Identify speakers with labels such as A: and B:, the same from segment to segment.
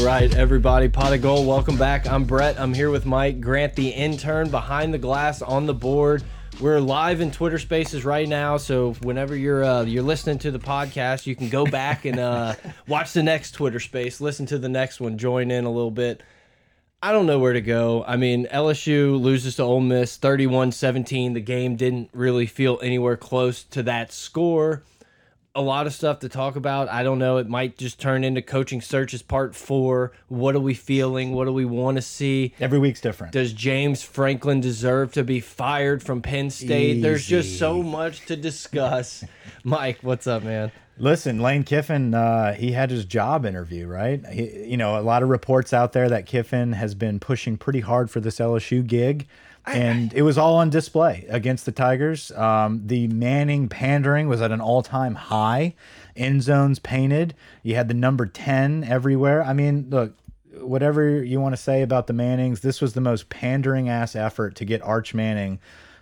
A: everybody? Pot of Gold, welcome back. I'm Brett. I'm here with Mike Grant, the intern behind the glass on the board. We're live in Twitter Spaces right now, so whenever you're uh, you're listening to the podcast, you can go back and uh, watch the next Twitter Space, listen to the next one, join in a little bit. I don't know where to go. I mean, LSU loses to Ole Miss 31-17. The game didn't really feel anywhere close to that score a lot of stuff to talk about. I don't know. It might just turn into coaching searches part four. What are we feeling? What do we want to see?
B: Every week's different.
A: Does James Franklin deserve to be fired from Penn State? There's just so much to discuss. Mike, what's up, man?
B: Listen, Lane Kiffin, uh, he had his job interview, right? He, you know, a lot of reports out there that Kiffin has been pushing pretty hard for this LSU gig, and it was all on display against the Tigers. Um, the Manning pandering was at an all time high, end zones painted. You had the number 10 everywhere. I mean, look, whatever you want to say about the Mannings, this was the most pandering ass effort to get Arch Manning.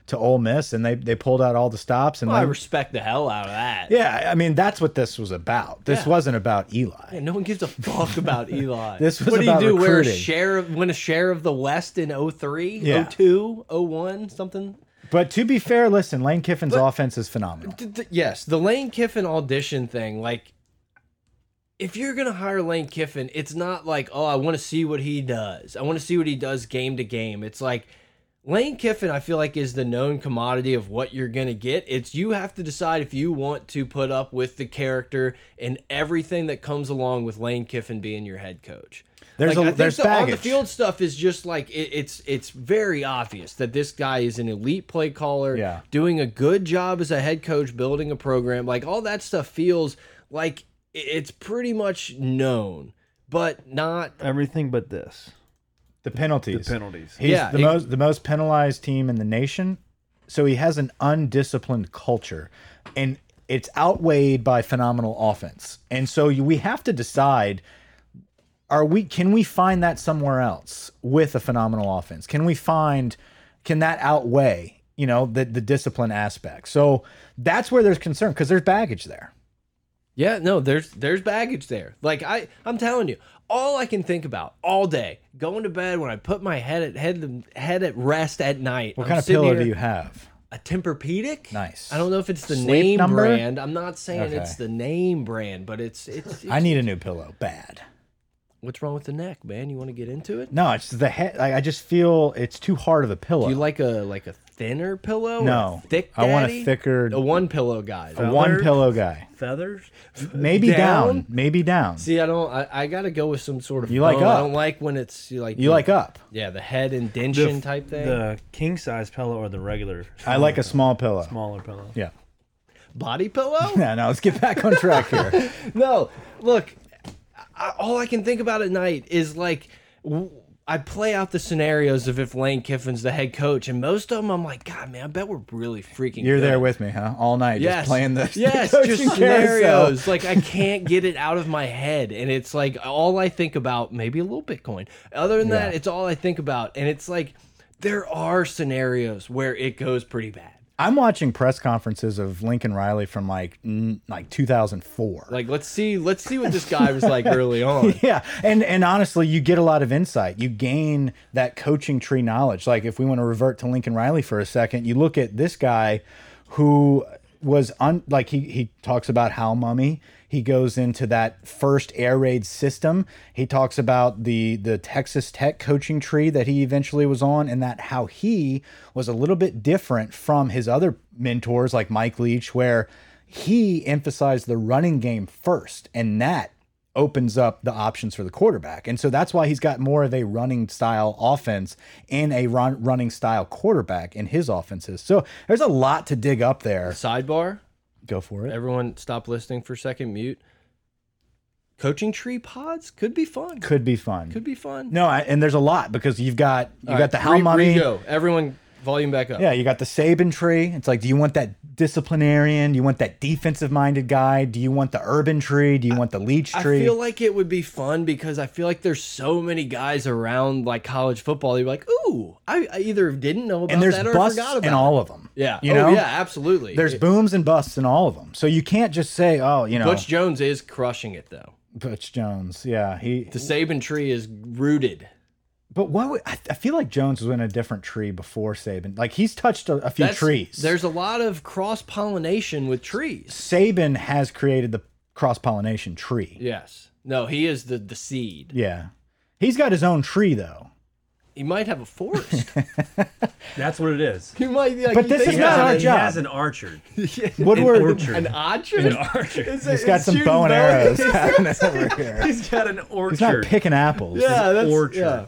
B: To Ole Miss, and they they pulled out all the stops. And
A: I
B: Lane-
A: respect the hell out of that.
B: yeah, I mean that's what this was about. This
A: Yeah.
B: wasn't about Eli.
A: Yeah, no one gives a fuck about Eli.
B: This was
A: what do
B: about
A: you do? Wear a
B: recruiting.
A: share of win a share of the West in 03,
B: Yeah.
A: 02, 01, something.
B: But to be fair, listen, Lane Kiffin's offense is phenomenal.
A: th- th- yes, the Lane Kiffin audition thing, like if you're gonna hire Lane Kiffin, it's not like, oh, I want to see what he does. I want to see what he does game to game. It's like Lane Kiffin, I feel like, is the known commodity of what you're gonna get. It's you have to decide if you want to put up with the character and everything that comes along with Lane Kiffin being your head coach.
B: There's
A: Like,
B: a-
A: I think
B: there's
A: the on the
B: baggage.
A: field stuff is just like it, it's it's very obvious that this guy is an elite play caller,
B: Yeah.
A: doing a good job as a head coach, building a program, like all that stuff feels like i- it's pretty much known, but not.
C: Everything but this.
B: The penalties.
C: The penalties.
B: He's
A: Yeah,
B: the
A: it-
B: most the most penalized team in the nation. So he has an undisciplined culture, and it's outweighed by phenomenal offense. And so you, we have to decide: Are we? Can we find that somewhere else with a phenomenal offense? Can we find? Can that outweigh? You know the the discipline aspect. So that's where there's concern because there's baggage there.
A: Yeah, no, there's there's baggage there. Like I I'm telling you, all I can think about all day, going to bed when I put my head at head head at rest at night.
B: What kind of pillow do you have?
A: a Tempur-Pedic.
B: Nice.
A: I don't know if it's the
B: Sleep
A: name
B: number?
A: brand. I'm not saying
B: Okay.
A: it's the name brand, but it's it's.
B: I need a new pillow, bad.
A: what's wrong with the neck, man? You want to get into it?
B: No, it's the head. Like, I just feel it's too hard of a pillow.
A: Do you like a like a thinner pillow? or
B: No.
A: a thick.
B: I
A: Daddy?
B: want a thicker-
A: A one pillow guy.
B: a one
C: feathered?
B: pillow guy?
C: Feathers?
B: Maybe down.
A: Down?
B: Maybe down.
A: See, I don't. I, I got to go with some sort of.
B: You like
A: bone. I
B: up.
A: don't like when it's you like.
B: you like up.
A: Yeah, the head indention type thing.
C: The king size pillow or the regular
B: I like a small pillow.
C: smaller pillow.
B: Yeah.
A: Body pillow.
B: No, no. Let's get back on track here.
A: no, look, I, all I can think about at night is like w- I play out the scenarios of if Lane Kiffin's the head coach, and most of them I'm like, God, man, I bet we're really freaking.
B: You're
A: good."
B: there with me, huh? All night,
A: Yes.
B: just playing the the
A: yes,
B: coaching
A: just
B: carousel.
A: scenarios. like I can't get it out of my head, and it's like all I think about. Maybe a little Bitcoin. Other than that,
B: Yeah.
A: it's all I think about, and it's like there are scenarios where it goes pretty bad.
B: I'm watching press conferences of Lincoln Riley from like mm, like 2004.
A: Like let's see, let's see what this guy was like early on.
B: yeah and and honestly you get a lot of insight you gain that coaching tree knowledge like if we want to revert to lincoln riley for a second you look at this guy who was un like he he talks about how mummy he goes into that first air raid system he talks about the the texas tech coaching tree that he eventually was on and that how he was a little bit different from his other mentors like mike leach where he emphasized the running game first and that opens up the options for the quarterback. And so that's why he's got more of a running style offense and a run, running style quarterback in his offenses. So there's a lot to dig up there.
A: Sidebar.
B: Go for it.
A: everyone stop listening for a second mute coaching tree pods could be fun
B: Could be fun.
A: could be fun
B: no, I, and there's a lot because you've got you got the how
A: Re-
B: mommy.
A: re-go. everyone volume back up
B: Yeah, you got the Saban tree. It's like, do you want that disciplinarian? Do you want that defensive minded guy? Do you want the urban tree? Do you want the leech
A: I
B: tree?
A: feel like it would be fun because I feel like there's so many guys around like college football. You're like, ooh, I, I either didn't know about
B: and there's
A: that or I
B: busts
A: forgot about.
B: in
A: it.
B: all of them.
A: yeah,
B: you
A: Oh,
B: know,
A: yeah, absolutely.
B: there's booms and busts in all of them. So you can't just say, oh, you know,
A: Butch Jones is crushing it though.
B: Butch Jones. Yeah, he.
A: The Saban tree is rooted.
B: but why would I, I feel like Jones was in a different tree before Saban? Like he's touched a, a few
A: That's-
B: trees.
A: There's a lot of cross pollination with trees.
B: Saban has created the cross pollination tree. Yeah.
A: Yes. No, he is the the seed.
B: he's got his own tree though.
A: He might have a forest.
D: That's what it is.
A: he might. Like,
B: But
A: you
B: this
A: think
B: is
D: He
B: not
D: has
B: our
D: an-
B: job.
D: He has an archer.
B: Woodward,
D: orchard.
A: an orchard.
D: An archer.
A: It's a-
B: he's got
A: it's
B: some
A: shooting
B: bow and
A: bows.
B: arrows happening over here.
D: He's got an orchard.
B: He's not picking apples.
A: yeah, that's
D: orchard.
A: yeah.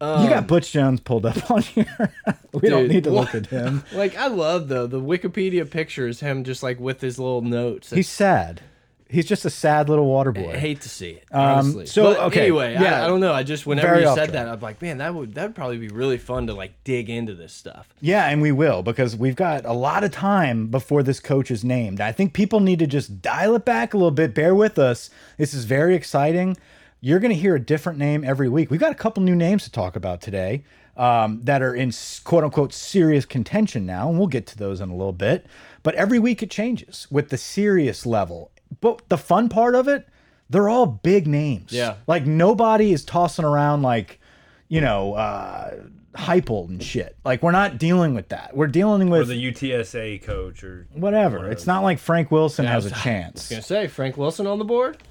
B: you got Butch Jones pulled up on here. we don't
A: Dude,
B: need to
A: what?
B: look at him.
A: Like I love though the Wikipedia picture is him just like with his little notes.
B: He's sad. He's just a sad little water
A: I
B: boy. Um,
A: hate to see it. Honestly.
B: so,
A: But
B: okay,
A: Anyway, I,
B: yeah.
A: I don't know. I just whenever
B: Very
A: you
B: off
A: said
B: track.
A: that, I'm like, man, that would that'd probably be really fun to like dig into this stuff.
B: Yeah, and we will because we've got a lot of time before this coach is named. I think people need to just dial it back a little bit. Bear with us. This is very exciting. You're going to hear a different name every week. We've got a couple new names to talk about today um, that are in s- quote unquote serious contention now, and we'll get to those in a little bit. But every week it changes with the serious level. But the fun part of it, they're all big names.
A: Yeah.
B: Like nobody is tossing around like, you know, uh hypel and shit. Like we're not dealing with that. We're dealing
D: Or
B: with
D: the UTSA coach or
B: whatever. It's not like Frank Wilson has a chance.
A: Gonna say Frank Wilson on the board.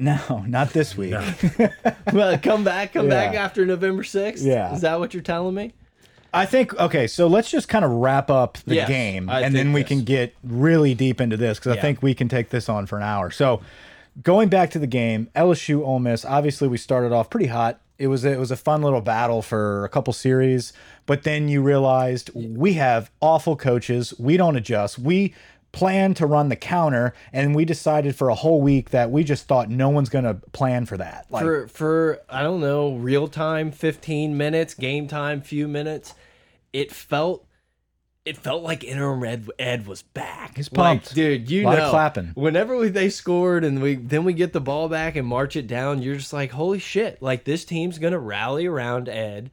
B: No, not this week.
A: well, come back, come back
B: Yeah.
A: after November sixth.
B: Yeah.
A: is that what you're telling me?
B: I think okay, so let's just kind of wrap up the
A: Yes,
B: game
A: I
B: and then
A: think
B: we
A: this.
B: can get really deep into this cuz I think we can take this on for an hour. So, going back to the game, LSU Ole Miss, obviously we started off pretty hot. It was a, it was a fun little battle for a couple series, but then you realized we have awful coaches. We don't adjust. We plan to run the counter and we decided for a whole week that we just thought no one's going to plan for that. Like
A: for for I don't know real time 15 minutes game time few minutes it felt it felt like interim Ed, Ed was back he's
B: pumped.
A: dude you
B: Lot of
A: know
B: clapping.
A: whenever we, they scored and we then we get the ball back and march it down you're just like holy shit like this team's gonna rally around Ed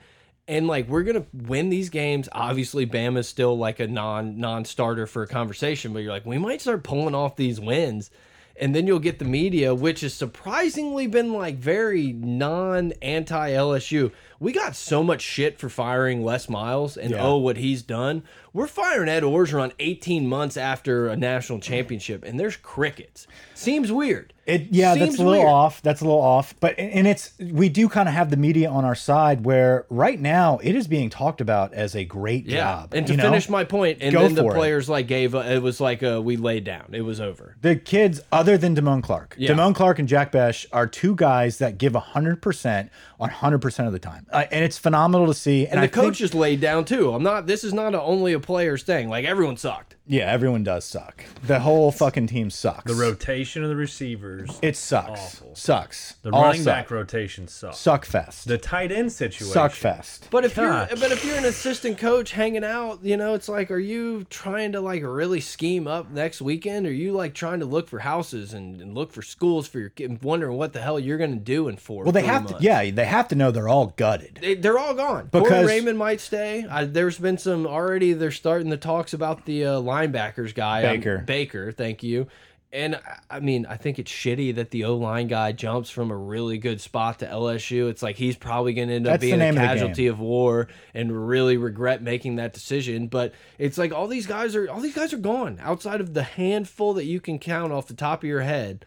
A: and like we're gonna win these games obviously Bama's still like a non non starter for a conversation but you're like we might start pulling off these wins and then you'll get the media, which has surprisingly been like very non anti LSU. We got so much shit for firing Les Miles and oh, what he's done. We're firing Ed Orgeron 18 months after a national championship, and there's crickets. Seems weird.
B: It yeah,
A: Seems
B: that's a little
A: weird.
B: off. That's a little off. But and it's we do kind of have the media on our side where right now it is being talked about as a great
A: Yeah.
B: job.
A: and to
B: you know?
A: finish my point, and
B: Go
A: then the
B: for it.
A: players like gave a, it was like uh we laid down. It was over.
B: the kids other than Damone Clark.
A: Yeah.
B: Damone Clark and Jack Besh are two guys that give 100% on 100% of the time. Uh, and it's phenomenal to see and,
A: And
B: I
A: the coach
B: think,
A: is laid down too. I'm not. This is not a, only a players thing. Like everyone sucked.
B: yeah, everyone does suck. The whole fucking team sucks.
D: the rotation of the receivers.
B: it sucks.
D: Awful.
B: Sucks.
D: the
B: All
D: running
B: suck.
D: back rotation sucks.
B: suck fest.
D: the tight end situation.
B: suck fest.
A: But if
D: God.
A: you're but if you're an assistant coach hanging out, you know, it's like are you trying to like really scheme up next weekend? Are you like trying to look for houses and, and look for schools for your kid and wondering what the hell you're gonna do in four?
B: Well, they
A: three
B: have to
A: months?
B: yeah, they have to know they're all gutted.
A: They, they're all gone. Corey
B: Because-
A: Raymond might stay. I, there's been some already. They're starting the talks about the uh, linebackers guy um,
B: Baker.
A: Baker, thank you. And I- I mean, I think it's shitty that the O line guy jumps from a really good spot to LSU. It's like he's probably going to end up
B: That's the
A: being a
B: name of the
A: casualty of war and really regret making that decision. But it's like all these guys are all these guys are gone. Outside of the handful that you can count off the top of your head,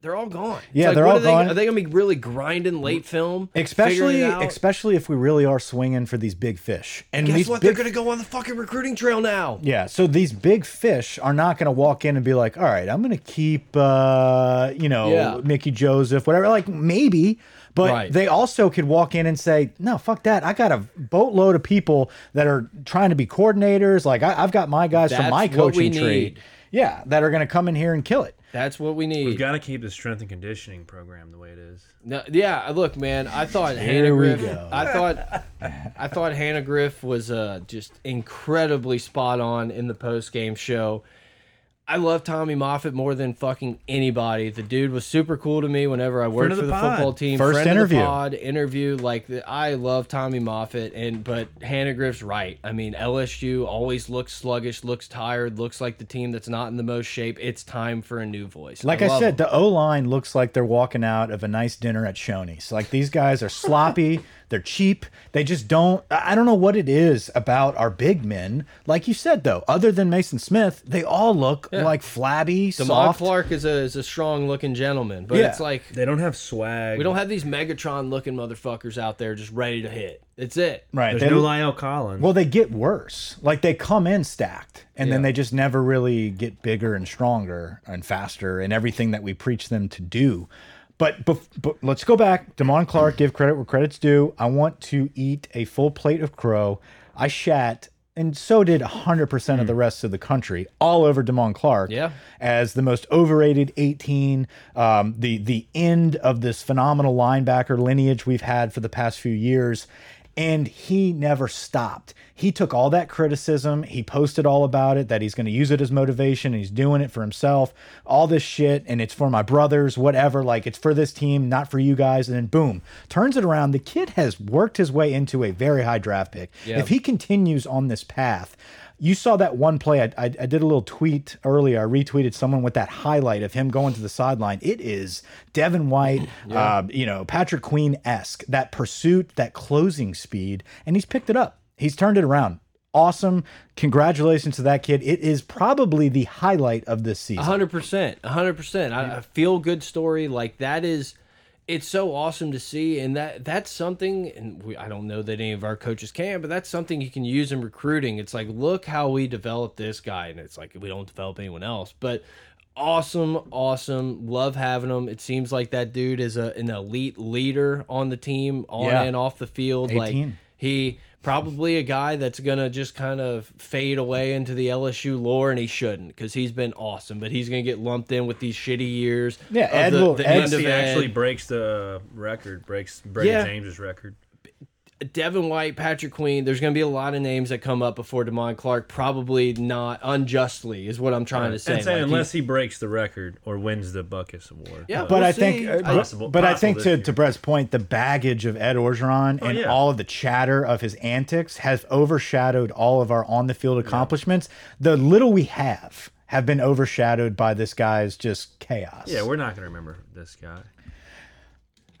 A: they're all gone. It's
B: Yeah,
A: like,
B: they're
A: what
B: all
A: are they,
B: gone.
A: Are they going to be really grinding late film? figuring
B: especially
A: it out?
B: especially if we really are swinging for these big fish and
A: Guess
B: these
A: what?
B: big
A: They're gonna go on the fucking recruiting trail now.
B: yeah so these big fish are not going to walk in and be like all right i'm going to keep uh you know
A: Yeah.
B: mickey joseph whatever like maybe but
A: Right.
B: they also could walk in and say no fuck that i got a boatload of people that are trying to be coordinators like I, i've got my guys
A: That's
B: from my
A: what we
B: coaching tree
A: need.
B: yeah that are going to come in here and kill it
A: That's what we
D: We've
A: need.
D: got to keep the strength and conditioning program the way it is.
A: No, yeah, uh, look, man. I thought Hannah
B: Here we
A: Griff.
B: go.
A: I thought, I thought Hannah Griff was uh, just incredibly spot on in the post game show. I love Tommy Moffat more than fucking anybody. The dude was super cool to me whenever I worked
C: of
A: for
C: the
A: the
C: pod.
A: football team.
B: First
A: Friend of the
B: interview.
A: pod interview. Like the, I love Tommy Moffat, and but Hannah Griff's right. I mean, LSU always looks sluggish, looks tired, looks like the team that's not in the most shape. It's time for a new voice.
B: Like I,
A: love
B: said,
A: him.
B: the O line looks like they're walking out of a nice dinner at Shoney's. Like these guys are sloppy, they're cheap. They just don't. I I don't know what it is about our big men. Like you said though, other than Mason Smith, they all look like flabby,
A: Demond
B: soft.
A: Clark is a is a strong looking gentleman, but
B: Yeah.
A: it's like
D: They don't have swag.
A: we don't have these Megatron looking motherfuckers out there just ready to hit. It's it.
B: Right.
D: There's
B: They,
D: no Lyle Collins.
B: well, they get worse. Like they come in stacked, and then
A: Yeah.
B: they just never really get bigger and stronger and faster and everything that we preach them to do. But, bef but let's go back. Damon Clark, give credit where credit's due. I want to eat a full plate of crow. I shat, and so did 100% of the rest of the country, all over Damon Clark
A: Yeah.
B: as the most overrated 18, um, the the end of this phenomenal linebacker lineage we've had for the past few years. And he never stopped. He took all that criticism. He posted all about it that he's going to use it as motivation. And he's doing it for himself, all this shit. And it's for my brothers, whatever. Like it's for this team, not for you guys. And then boom, turns it around. The kid has worked his way into a very high draft pick.
A: Yeah.
B: If he continues on this path, you saw that one play. I, I, I did a little tweet earlier. I retweeted someone with that highlight of him going to the sideline. It is Devin White, uh, you know, Patrick Queen esque, that pursuit, that closing speed. And he's picked it up, he's turned it around. Awesome. Congratulations to that kid. It is probably the highlight of this season.
A: hundred percent, hundred percent. I, I feel good story like that is. It's so awesome to see, and that that's something. And we, I don't know that any of our coaches can, but that's something you can use in recruiting. It's like, look how we developed this guy, and it's like we don't develop anyone else. But awesome, awesome. Love having him. It seems like that dude is a, an elite leader on the team, on
B: Yeah.
A: and off the field. Like
B: 18.
A: he probably a guy that's gonna just kind of fade away into the LSU lore, and he shouldn't because he's been awesome. But he's gonna get lumped in with these shitty years.
B: Yeah,
A: of
B: Ed will- Ed's
A: end
D: Unless
A: of
D: he
A: Ed.
D: actually breaks the record, breaks Brady
A: Yeah.
D: James's record.
A: Devin White, Patrick Queen. There's gonna be a lot of names that come up before Demond Clark. Probably not unjustly is what I'm trying to say.
D: and say
A: Like,
D: unless he breaks the record or wins the Buckus Award.
A: Yeah,
B: but
A: We'll
B: I think,
A: see.
B: uh, but-
D: Possible-
B: but I
D: possible
B: think
D: this
B: to,
D: year.
B: to Brett's point, the baggage of Ed Orgeron
A: Oh,
B: and
D: yeah.
B: all of the chatter of his antics has overshadowed all of our on the field accomplishments. The little we have have been overshadowed by this guy's just chaos.
D: yeah, we're not gonna remember this guy.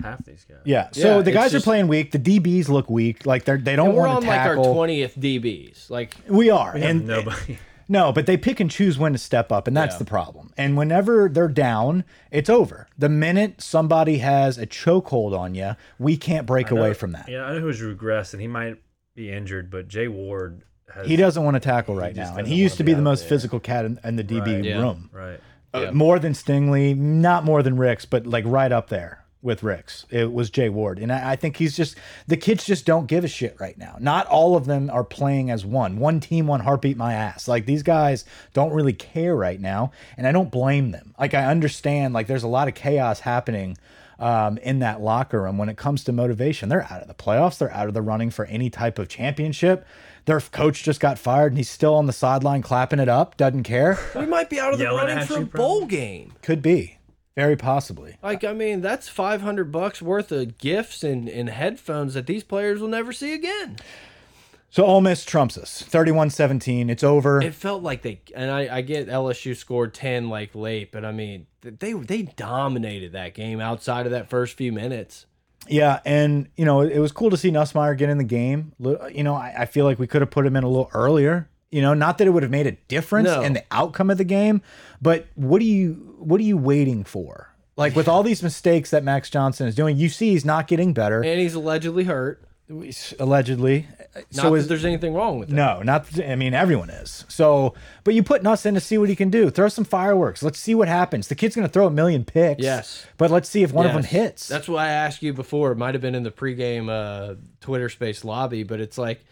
D: Half these guys.
B: Yeah. So
A: Yeah,
B: the
A: it's
B: guys
A: just-
B: are playing weak. The DBs look weak. Like they're they don't
A: we're
B: want
A: on
B: to
A: like our
B: tackle.
A: 20th DBs. Like
B: we are. and
D: Nobody.
B: No, but they pick and choose when to step up, and that's the problem. And whenever they're down, it's over. The minute somebody has a chokehold on you, we can't break away from that.
D: Yeah, I know who's regressed and he might be injured, but Jay Ward has
B: He doesn't want to tackle right now, and
D: doesn't
B: he used
D: wanna
B: to
D: be
B: be the
D: out
B: most
D: there.
B: physical cat in, in the DB
D: Right.
A: Yeah.
B: room,
D: right.
B: Uh, more than Stingley, not more than Ricks, but like right up there with Ricks. It was Jay Ward, and I, I think he's just the kids just don't give a shit right now. Not all of them are playing as one, one team, one heartbeat, my ass. Like these guys don't really care right now, and I don't blame them. Like I understand, like there's a lot of chaos happening um, in that locker room when it comes to motivation. They're out of the playoffs. They're out of the running for any type of championship. Their coach just got fired and he's still on the sideline clapping it up. Doesn't care.
A: we might be out of the
D: Yelling
A: running
D: at
A: for a
D: you,
A: bowl
D: probably.
A: game.
B: Could be. Very possibly.
A: Like I mean, that's five hundred bucks worth of gifts and, and headphones that these players will never see again.
B: So Ole Miss trumps us. 31-17. It's over.
A: It felt like they and I, I get LSU scored ten like late, but I mean th- they they dominated that game outside of that first few minutes.
B: yeah, and you know, it was cool to see Nussmeyer get in the game. Li- You know, I, I feel like we could have put him in a little earlier. You know, not that it would have made a difference
A: No.
B: in the outcome of the game, but what do you what are you waiting for? Like with all these mistakes that Max Johnson is doing, you see he's not getting better
A: And he's allegedly hurt.
B: allegedly.
A: Not
B: so
A: that
B: is
A: there's anything wrong with it.
B: No, not. I mean, everyone is. So, but you put Nuss in to see what he can do. Throw some fireworks. Let's see what happens. The kid's going to throw a million picks.
A: Yes.
B: But let's see if one of
A: Yes.
B: them hits.
A: That's why I asked you before. It might have been in the pregame uh, Twitter space lobby, but it's like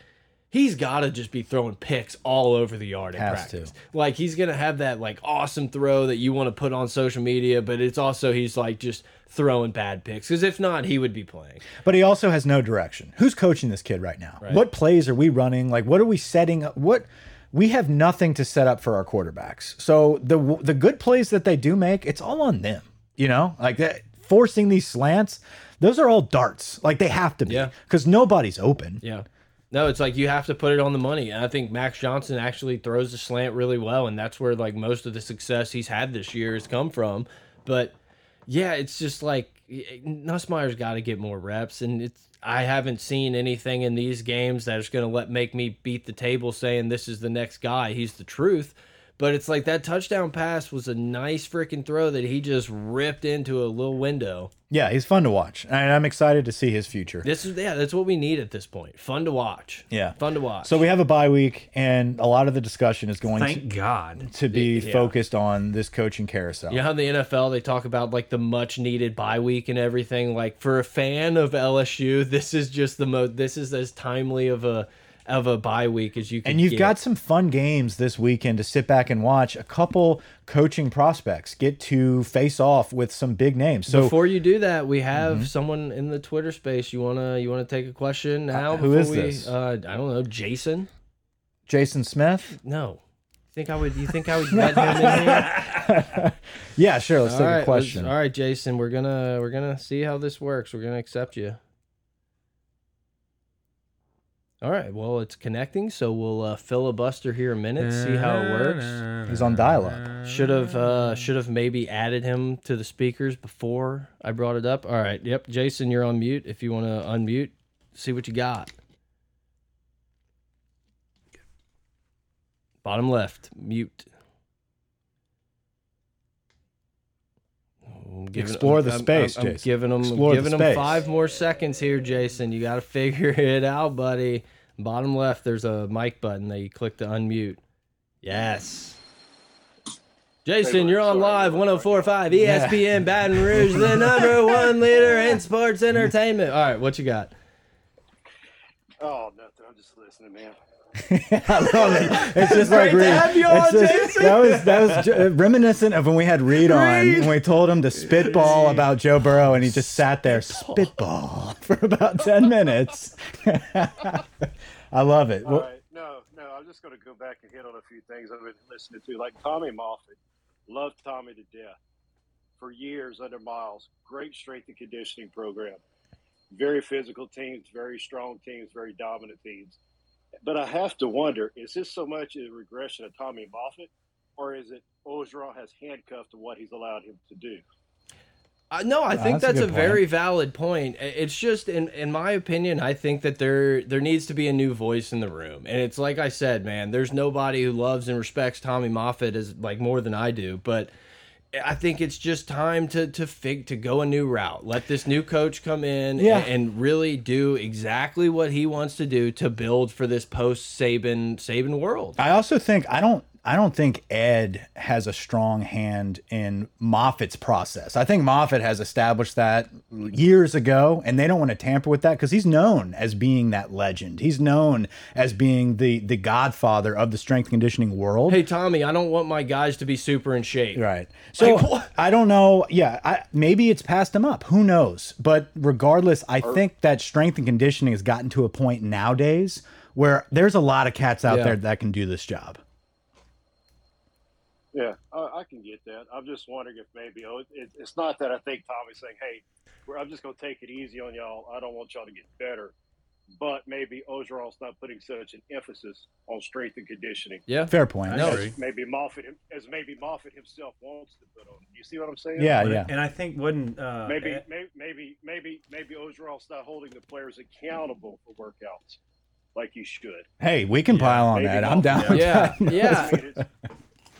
A: he's got to just be throwing picks all over the yard in
B: Has to.
A: practice. Like he's gonna have that like awesome throw that you want to put on social media, but it's also he's like just throwing bad picks because if not, he would be playing.
B: but he also has no direction. Who's coaching this kid right now? What plays are we running? Like, what are we setting up? What. we have nothing to set up for our quarterbacks. So the the good plays that they do make, it's all on them. You know, like that forcing these slants, those are all darts. Like they have to be
A: Yeah.
B: because nobody's open.
A: Yeah. No, it's like you have to put it on the money. And I think Max Johnson actually throws the slant really well. And that's where like most of the success he's had this year has come from. But yeah, it's just like Nussmeyer's got to get more reps. And it's, I haven't seen anything in these games that is going to let make me beat the table saying this is the next guy. He's the truth. But it's like that touchdown pass was a nice freaking throw that he just ripped into a little window.
B: Yeah, he's fun to watch, and I'm excited to see his future.
A: This is, yeah, that's what we need at this point. Fun to watch.
B: Yeah.
A: Fun to watch.
B: So we have a bye week, and a lot of the discussion is going to,
D: Thank God.
B: to be focused on this coaching carousel.
A: You know how in the NFL they talk about like the much needed bye week and everything. Like for a fan of LSU, this is just the most. This is as timely of a of a bye week as you can.
B: And you've
A: get.
B: got some fun games this weekend to sit back and watch. A couple coaching prospects get to face off with some big names. So Mm-hmm.
A: Before you do that, we have someone in the Twitter space. You wanna you wanna take a question now?
B: who
A: before
B: is
A: we,
B: this?
A: Uh, I don't know, Jason.
B: Jason Smith,
A: No, think I would? You think I would let him in here?
B: yeah, sure. Let's take
A: right,
B: a
A: let's-
B: question.
A: all right, Jason. We're gonna we're gonna see how this works. We're gonna accept you. All right. Well, it's connecting, so we'll uh, filibuster here a minute, see how it works.
B: He's on dial-up.
A: Should have uh, should have maybe added him to the speakers before I brought it up. All right. Yep, Jason, you're on mute. If you want to unmute, see what you got. Bottom left, mute. I'm giving-
B: Explore the space,
A: I'm, I'm
B: Jason.
A: giving him,
B: Explore the
A: giving him
B: space.
A: five more seconds here, Jason. You got to figure it out, buddy. Bottom left, there's a mic button that you click to unmute. Yes. Jason, you're on live 1045 ESPN Baton Rouge, the number one leader in sports entertainment. All right, what you got?
E: Oh, nothing. I'm just listening, man.
B: I love it. It's just
A: Great
B: like
A: to
B: Reed.
A: have you
B: It's
A: on,
B: just- that was that was ju- reminiscent of when we had Reed on
A: Reed.
B: when we told him to spitball about Joe Burrow, and he just sat there spitball for about ten minutes. I love it.
E: All
B: Well,
E: right. No, no. I'm just going to go back and hit on a few things I've been listening to. Like Tommy Moffitt, loved Tommy to death for years under Miles. Great strength and conditioning program. Very physical teams, very strong teams, very dominant teams. But I have to wonder is this so much a regression of Tommy Moffitt, or is it Ogeron has handcuffed to what he's allowed him to do?
A: Uh, no, I think
B: that's
A: that's,
B: a
A: a,
B: good
A: very valid point. I- It's just, in in my opinion, I think that there there needs to be a new voice in the room, and it's like I said, man. There's nobody who loves and respects Tommy Moffat as like more than I do, but I think it's just time to to fig to go a new route. Let this new coach come in
B: Yeah.
A: and, and really do exactly what he wants to do to build for this post Saban Saban world.
B: I also think I don't I don't think Ed has a strong hand in Moffitt's process. I think Moffitt has established that years ago, and they don't want to tamper with that because he's known as being that legend. He's known as being the the godfather of the strength conditioning world.
A: Hey Tommy, I don't want my guys to be super in shape.
B: Right. So
A: Like, what?
B: I don't know. Yeah, I, maybe it's passed him up. Who knows? But regardless, I think that strength and conditioning has gotten to a point nowadays where there's a lot of cats out
A: Yeah.
B: there that can do this job.
E: Yeah, I, I can get that. I'm just wondering if maybe oh, it, it, it's not that I think Tommy's saying, "Hey, we're, I'm just going to take it easy on y'all. I don't want y'all to get better," but maybe Ogeron's not putting such an emphasis on strength and conditioning.
A: Yeah.
B: Fair point.
A: No.
E: as maybe Moffitt him- as maybe Moffitt himself wants to put on. it. You see what I'm saying?
B: Yeah,
C: But-
B: yeah.
C: And I think wasn't uh,
E: Maybe,
C: Ed-
E: maybe, maybe, maybe, maybe Ogeron's not holding the players accountable for workouts like he should.
B: Hey, we can pile on
E: maybe
B: that.
E: not.
B: I'm down. with
A: Yeah.
B: that.
A: Yeah.
E: I mean, it's-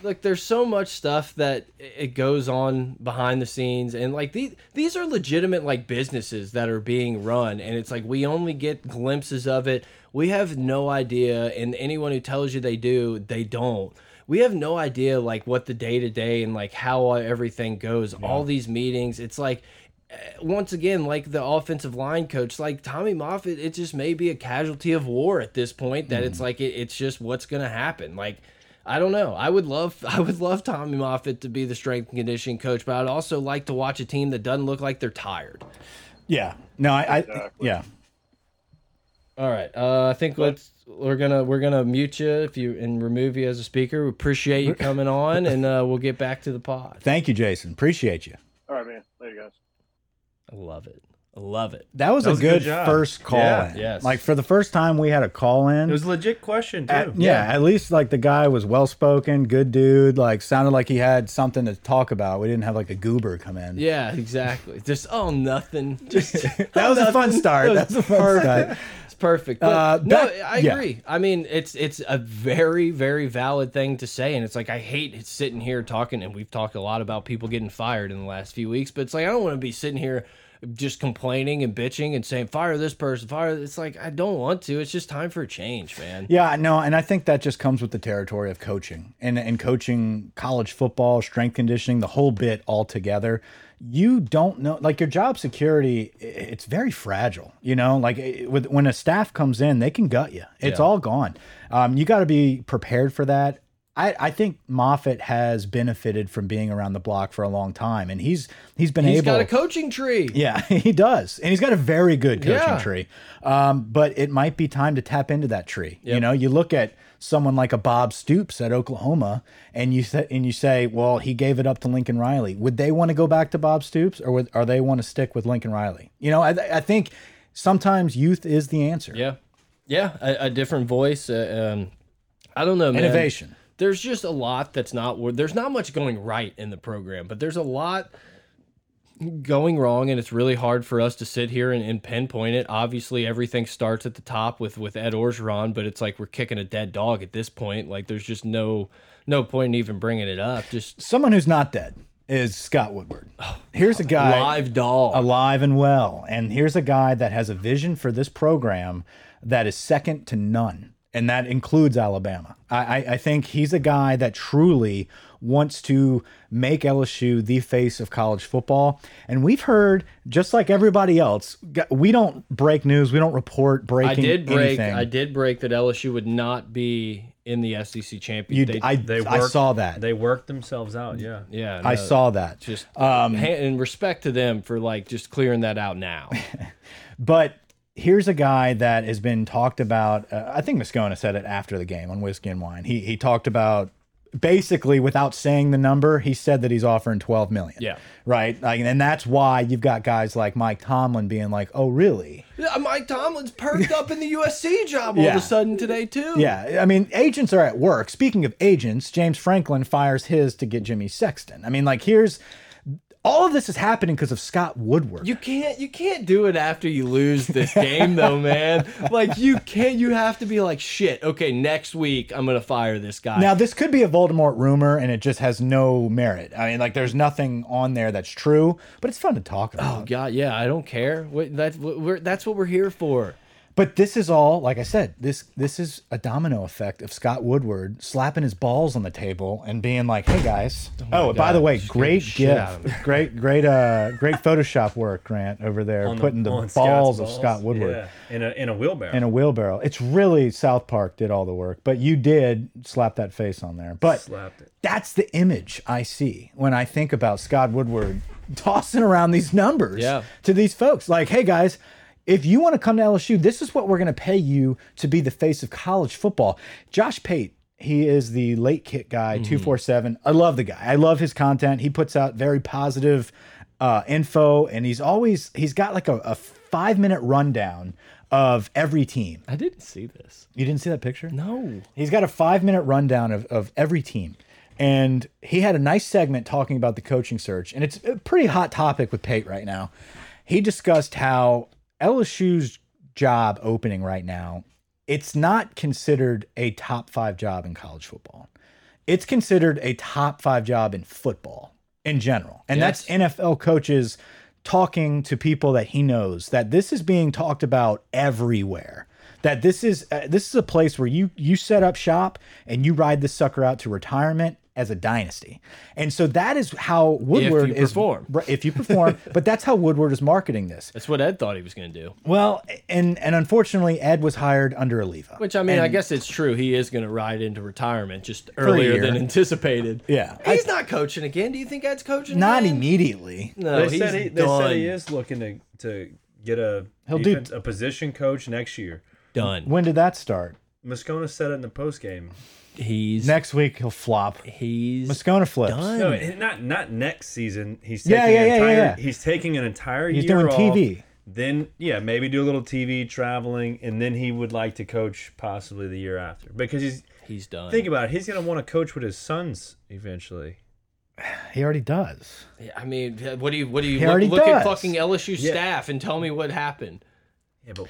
A: Look, there's so much stuff that i- it goes on behind the scenes, and like these these are legitimate like businesses that are being run, and it's like we only get glimpses of it. We have no idea, and anyone who tells you they do, they don't. We have no idea like what the day to day and like how everything goes. All these meetings, it's like once again, like the offensive line coach, like Tommy Moffitt, it just may be a casualty of war at this point. That it's like it, it's just what's going to happen. Like I don't know. I would love I would love Tommy Moffitt to be the strength and conditioning coach, but I'd also like to watch a team that doesn't look like they're tired.
B: Yeah. No, I, I
E: Exactly.
B: yeah.
A: All right. Uh, I think let's we're gonna we're gonna mute you if you and remove you as a speaker. We appreciate you coming on, and uh, we'll get back to the pod.
B: Thank you, Jason. Appreciate you.
E: All right, man. Later, guys.
A: I love it. I love it.
B: That was,
C: That was
B: a
C: a good
B: good,
C: job.
B: first call
C: Yeah.
B: in.
A: Yes.
B: Like for the first time we had a call in.
C: It was a legit question too.
B: At- yeah, at least like the guy was well spoken, good dude. Like sounded like he had something to talk about. We didn't have like a goober come in.
A: Yeah, exactly. Just oh nothing. Just oh,
B: That was a fun start. That was a fun start.
A: it's perfect. But,
B: Uh,
A: no,
B: back-
A: I
B: yeah.
A: agree. I mean, it's it's a very very valid thing to say, and it's like I hate sitting here talking, and we've talked a lot about people getting fired in the last few weeks, but it's like I don't want to be sitting here just complaining and bitching and saying fire this person, fire. It's like I don't want to. It's just time for a change, man.
B: Yeah, no, and I think that just comes with the territory of coaching and and coaching college football, strength conditioning, the whole bit altogether. You don't know, like your job security, i- it's very fragile. You know, like it, with, when a staff comes in, they can gut you. It's all gone. Um, you got to be prepared for that. I, I think Moffitt has benefited from being around the block for a long time, and he's he's been
A: He's
B: able
A: got a coaching tree.
B: yeah, he does, and he's got a very good coaching
A: Yeah.
B: tree. Um, but it might be time to tap into that tree. You
A: Yep.
B: know, you look at someone like a Bob Stoops at Oklahoma, and you say, and you say, well, he gave it up to Lincoln Riley. Would they want to go back to Bob Stoops, or would, are they want to stick with Lincoln Riley? You know, I, th- I think sometimes youth is the answer.
A: Yeah, yeah, a, a different voice. Uh, um, I don't know, man.
B: Innovation.
A: There's just a lot that's not. wor- There's not much going right in the program, but there's a lot going wrong, and it's really hard for us to sit here and, and pinpoint it. Obviously, everything starts at the top with with Ed Orgeron, but it's like we're kicking a dead dog at this point. Like there's just no no point in even bringing it up. Just
B: Someone who's not dead is Scott Woodward. Here's a guy
A: Oh, live dog.
B: alive and well. And here's a guy that has a vision for this program that is second to none. And that includes Alabama. I, I, I think he's a guy that truly wants to make LSU the face of college football. And we've heard, just like everybody else, g- we don't break news. We don't report breaking.
A: I did break.
B: anything.
A: I did break that LSU would not be in the SEC
B: You,
A: championship. They-
B: I,
D: They
B: I
D: worked-
B: saw that.
D: They worked themselves out. Yeah.
A: yeah,
B: I
A: no.
B: um saw that.
A: just ha- and respect to them for like just clearing that out now.
B: But here's a guy that has been talked about. Uh, I think Moscona said it after the game on Whiskey and Wine. He he talked about basically without saying the number, he said that he's offering 12 million.
A: Yeah.
B: Right. Like, and that's why you've got guys like Mike Tomlin being like, oh, really?
A: Yeah, Mike Tomlin's perked up in the USC job all
B: Yeah.
A: of a sudden today too.
B: Yeah. I mean, agents are at work. Speaking of agents, James Franklin fires his to get Jimmy Sexton. I mean, like, here's all of this is happening because of Scott Woodward.
A: You can't you can't do it after you lose this game though, man. Like you can't you have to be like shit, okay, next week I'm gonna fire this guy.
B: Now, this could be a Voldemort rumor, and it just has no merit. I mean, like, there's nothing on there that's true, but it's fun to talk about.
A: Oh, God, yeah, I don't care. What, that's what we're that's what we're here for.
B: But this is all, like I said, this this is a domino effect of Scott Woodward slapping his balls on the table and being like, "Hey guys, oh, by
A: God,
B: the way,
A: just getting
B: great
A: the shit out of
B: gift, great great uh great Photoshop work, Grant over there
D: On
B: putting the,
D: on
B: balls,
D: Scott's
B: of
D: balls.
B: Scott Woodward."
D: Yeah. In a in a wheelbarrow.
B: In a wheelbarrow. It's really South Park did all the work, but you did slap that face on there. But
D: Slapped it.
B: that's the image I see when I think about Scott Woodward tossing around these numbers
A: Yeah.
B: to these folks. Like, hey guys, if you want to come to LSU, this is what we're going to pay you to be the face of college football. Josh Pate, he is the late kick guy, 247. I love the guy. I love his content. He puts out very positive uh, info and he's always, he's got like a, a five minute rundown of every team.
A: I didn't see this.
B: You didn't see that picture?
A: No.
B: He's got a five minute rundown of, of every team. And he had a nice segment talking about the coaching search. And it's a pretty hot topic with Pate right now. He discussed how LSU's job opening right now, it's not considered a top five job in college football. It's considered a top five job in football in general. And that's NFL coaches talking to people that he knows that this is being talked about everywhere that this is uh, this is a place where you you set up shop and you ride this sucker out to retirement as a dynasty. And so that is how Woodward
A: you
B: is
A: perform.
B: Right, if you perform, but that's how Woodward is marketing this.
A: That's what Ed thought he was gonna do.
B: Well, and and unfortunately Ed was hired under Oliva.
A: Which I mean, I guess it's true. He is going to ride into retirement just
B: a
A: earlier
B: year.
A: than anticipated.
B: Yeah.
A: he's not coaching again. Do you think Ed's coaching?
B: not
A: again?
B: immediately.
A: No,
D: They
A: he's
D: said he, they
A: done.
D: said he is looking to to get a
B: do-
D: defense, a position coach next year.
A: Done.
B: When did that start?
D: Moscona said it in the post
B: Hmm.
D: game.
A: He's
B: Next week he'll flop.
A: he's
B: Moscona flips.
A: done.
D: No, not not next season. He's taking
B: Yeah,
D: an
B: yeah, yeah,
D: entire,
B: yeah, yeah.
D: He's taking an entire
B: He's
D: year
B: doing
D: off,
B: TV.
D: Then yeah, maybe do a little TV traveling, and then he would like to coach possibly the year after because he's
A: He's done.
D: think about it. He's gonna want to coach with his sons eventually.
B: He already does.
A: Yeah, I mean, what do you what do you
B: He
A: look,
B: already
A: look at
B: does.
A: fucking LSU
D: Yeah.
A: staff and tell me what happened?
D: Yeah, but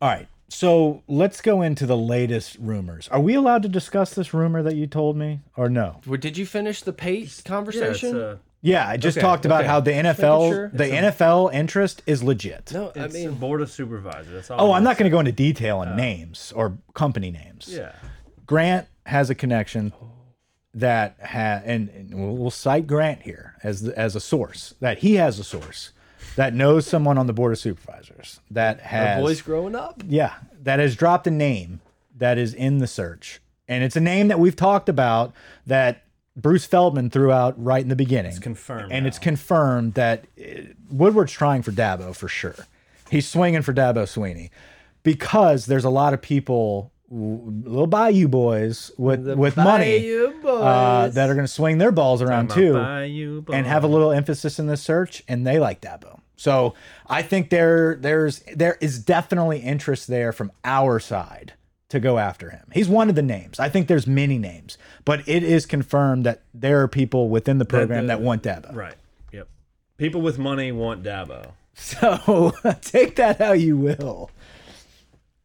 B: All right. So let's go into the latest rumors. Are we allowed to discuss this rumor that you told me or no?
A: Well, Did you finish the Pate
D: yeah, it's,
A: conversation?
D: uh,
B: Yeah, I just
A: Okay,
B: talked about
A: okay.
B: how the
A: making
B: NFL
A: sure.
B: the NFL interest is legit.
A: no, I
D: it's
B: uh,
D: the
A: mean,
D: board of supervisors. That's all.
B: Oh,
D: it
B: I'm
D: is.
B: not going to go into detail
A: Uh,
B: on names or company names.
D: Yeah,
B: Grant has a connection that ha and, and we'll, we'll cite Grant here as the, as a source that he has a source that knows someone on the board of supervisors that
A: our
B: has
A: boys growing up.
B: yeah that has dropped a name that is in the search and it's a name that we've talked about that Bruce Feldman threw out right in the beginning. It's
D: confirmed
B: and it's
D: now.
B: confirmed that uh, Woodward's trying for Dabo for sure. He's swinging for Dabo Sweeney because there's a lot of people, w- little Bayou boys with with money
A: Bayou
B: uh,
A: boys.
B: that are going to swing their balls around
D: Talking
B: too,
D: about Bayou
B: and have a
D: Boys.
B: little emphasis in the search, and they like Dabo. So I think there there's there is definitely interest there from our side to go after him. He's one of the names. I think there's many names, but it is confirmed that there are people within the program
D: the-
B: that want Dabo.
D: right. Yep. People with money want Dabo.
B: So take that how you will.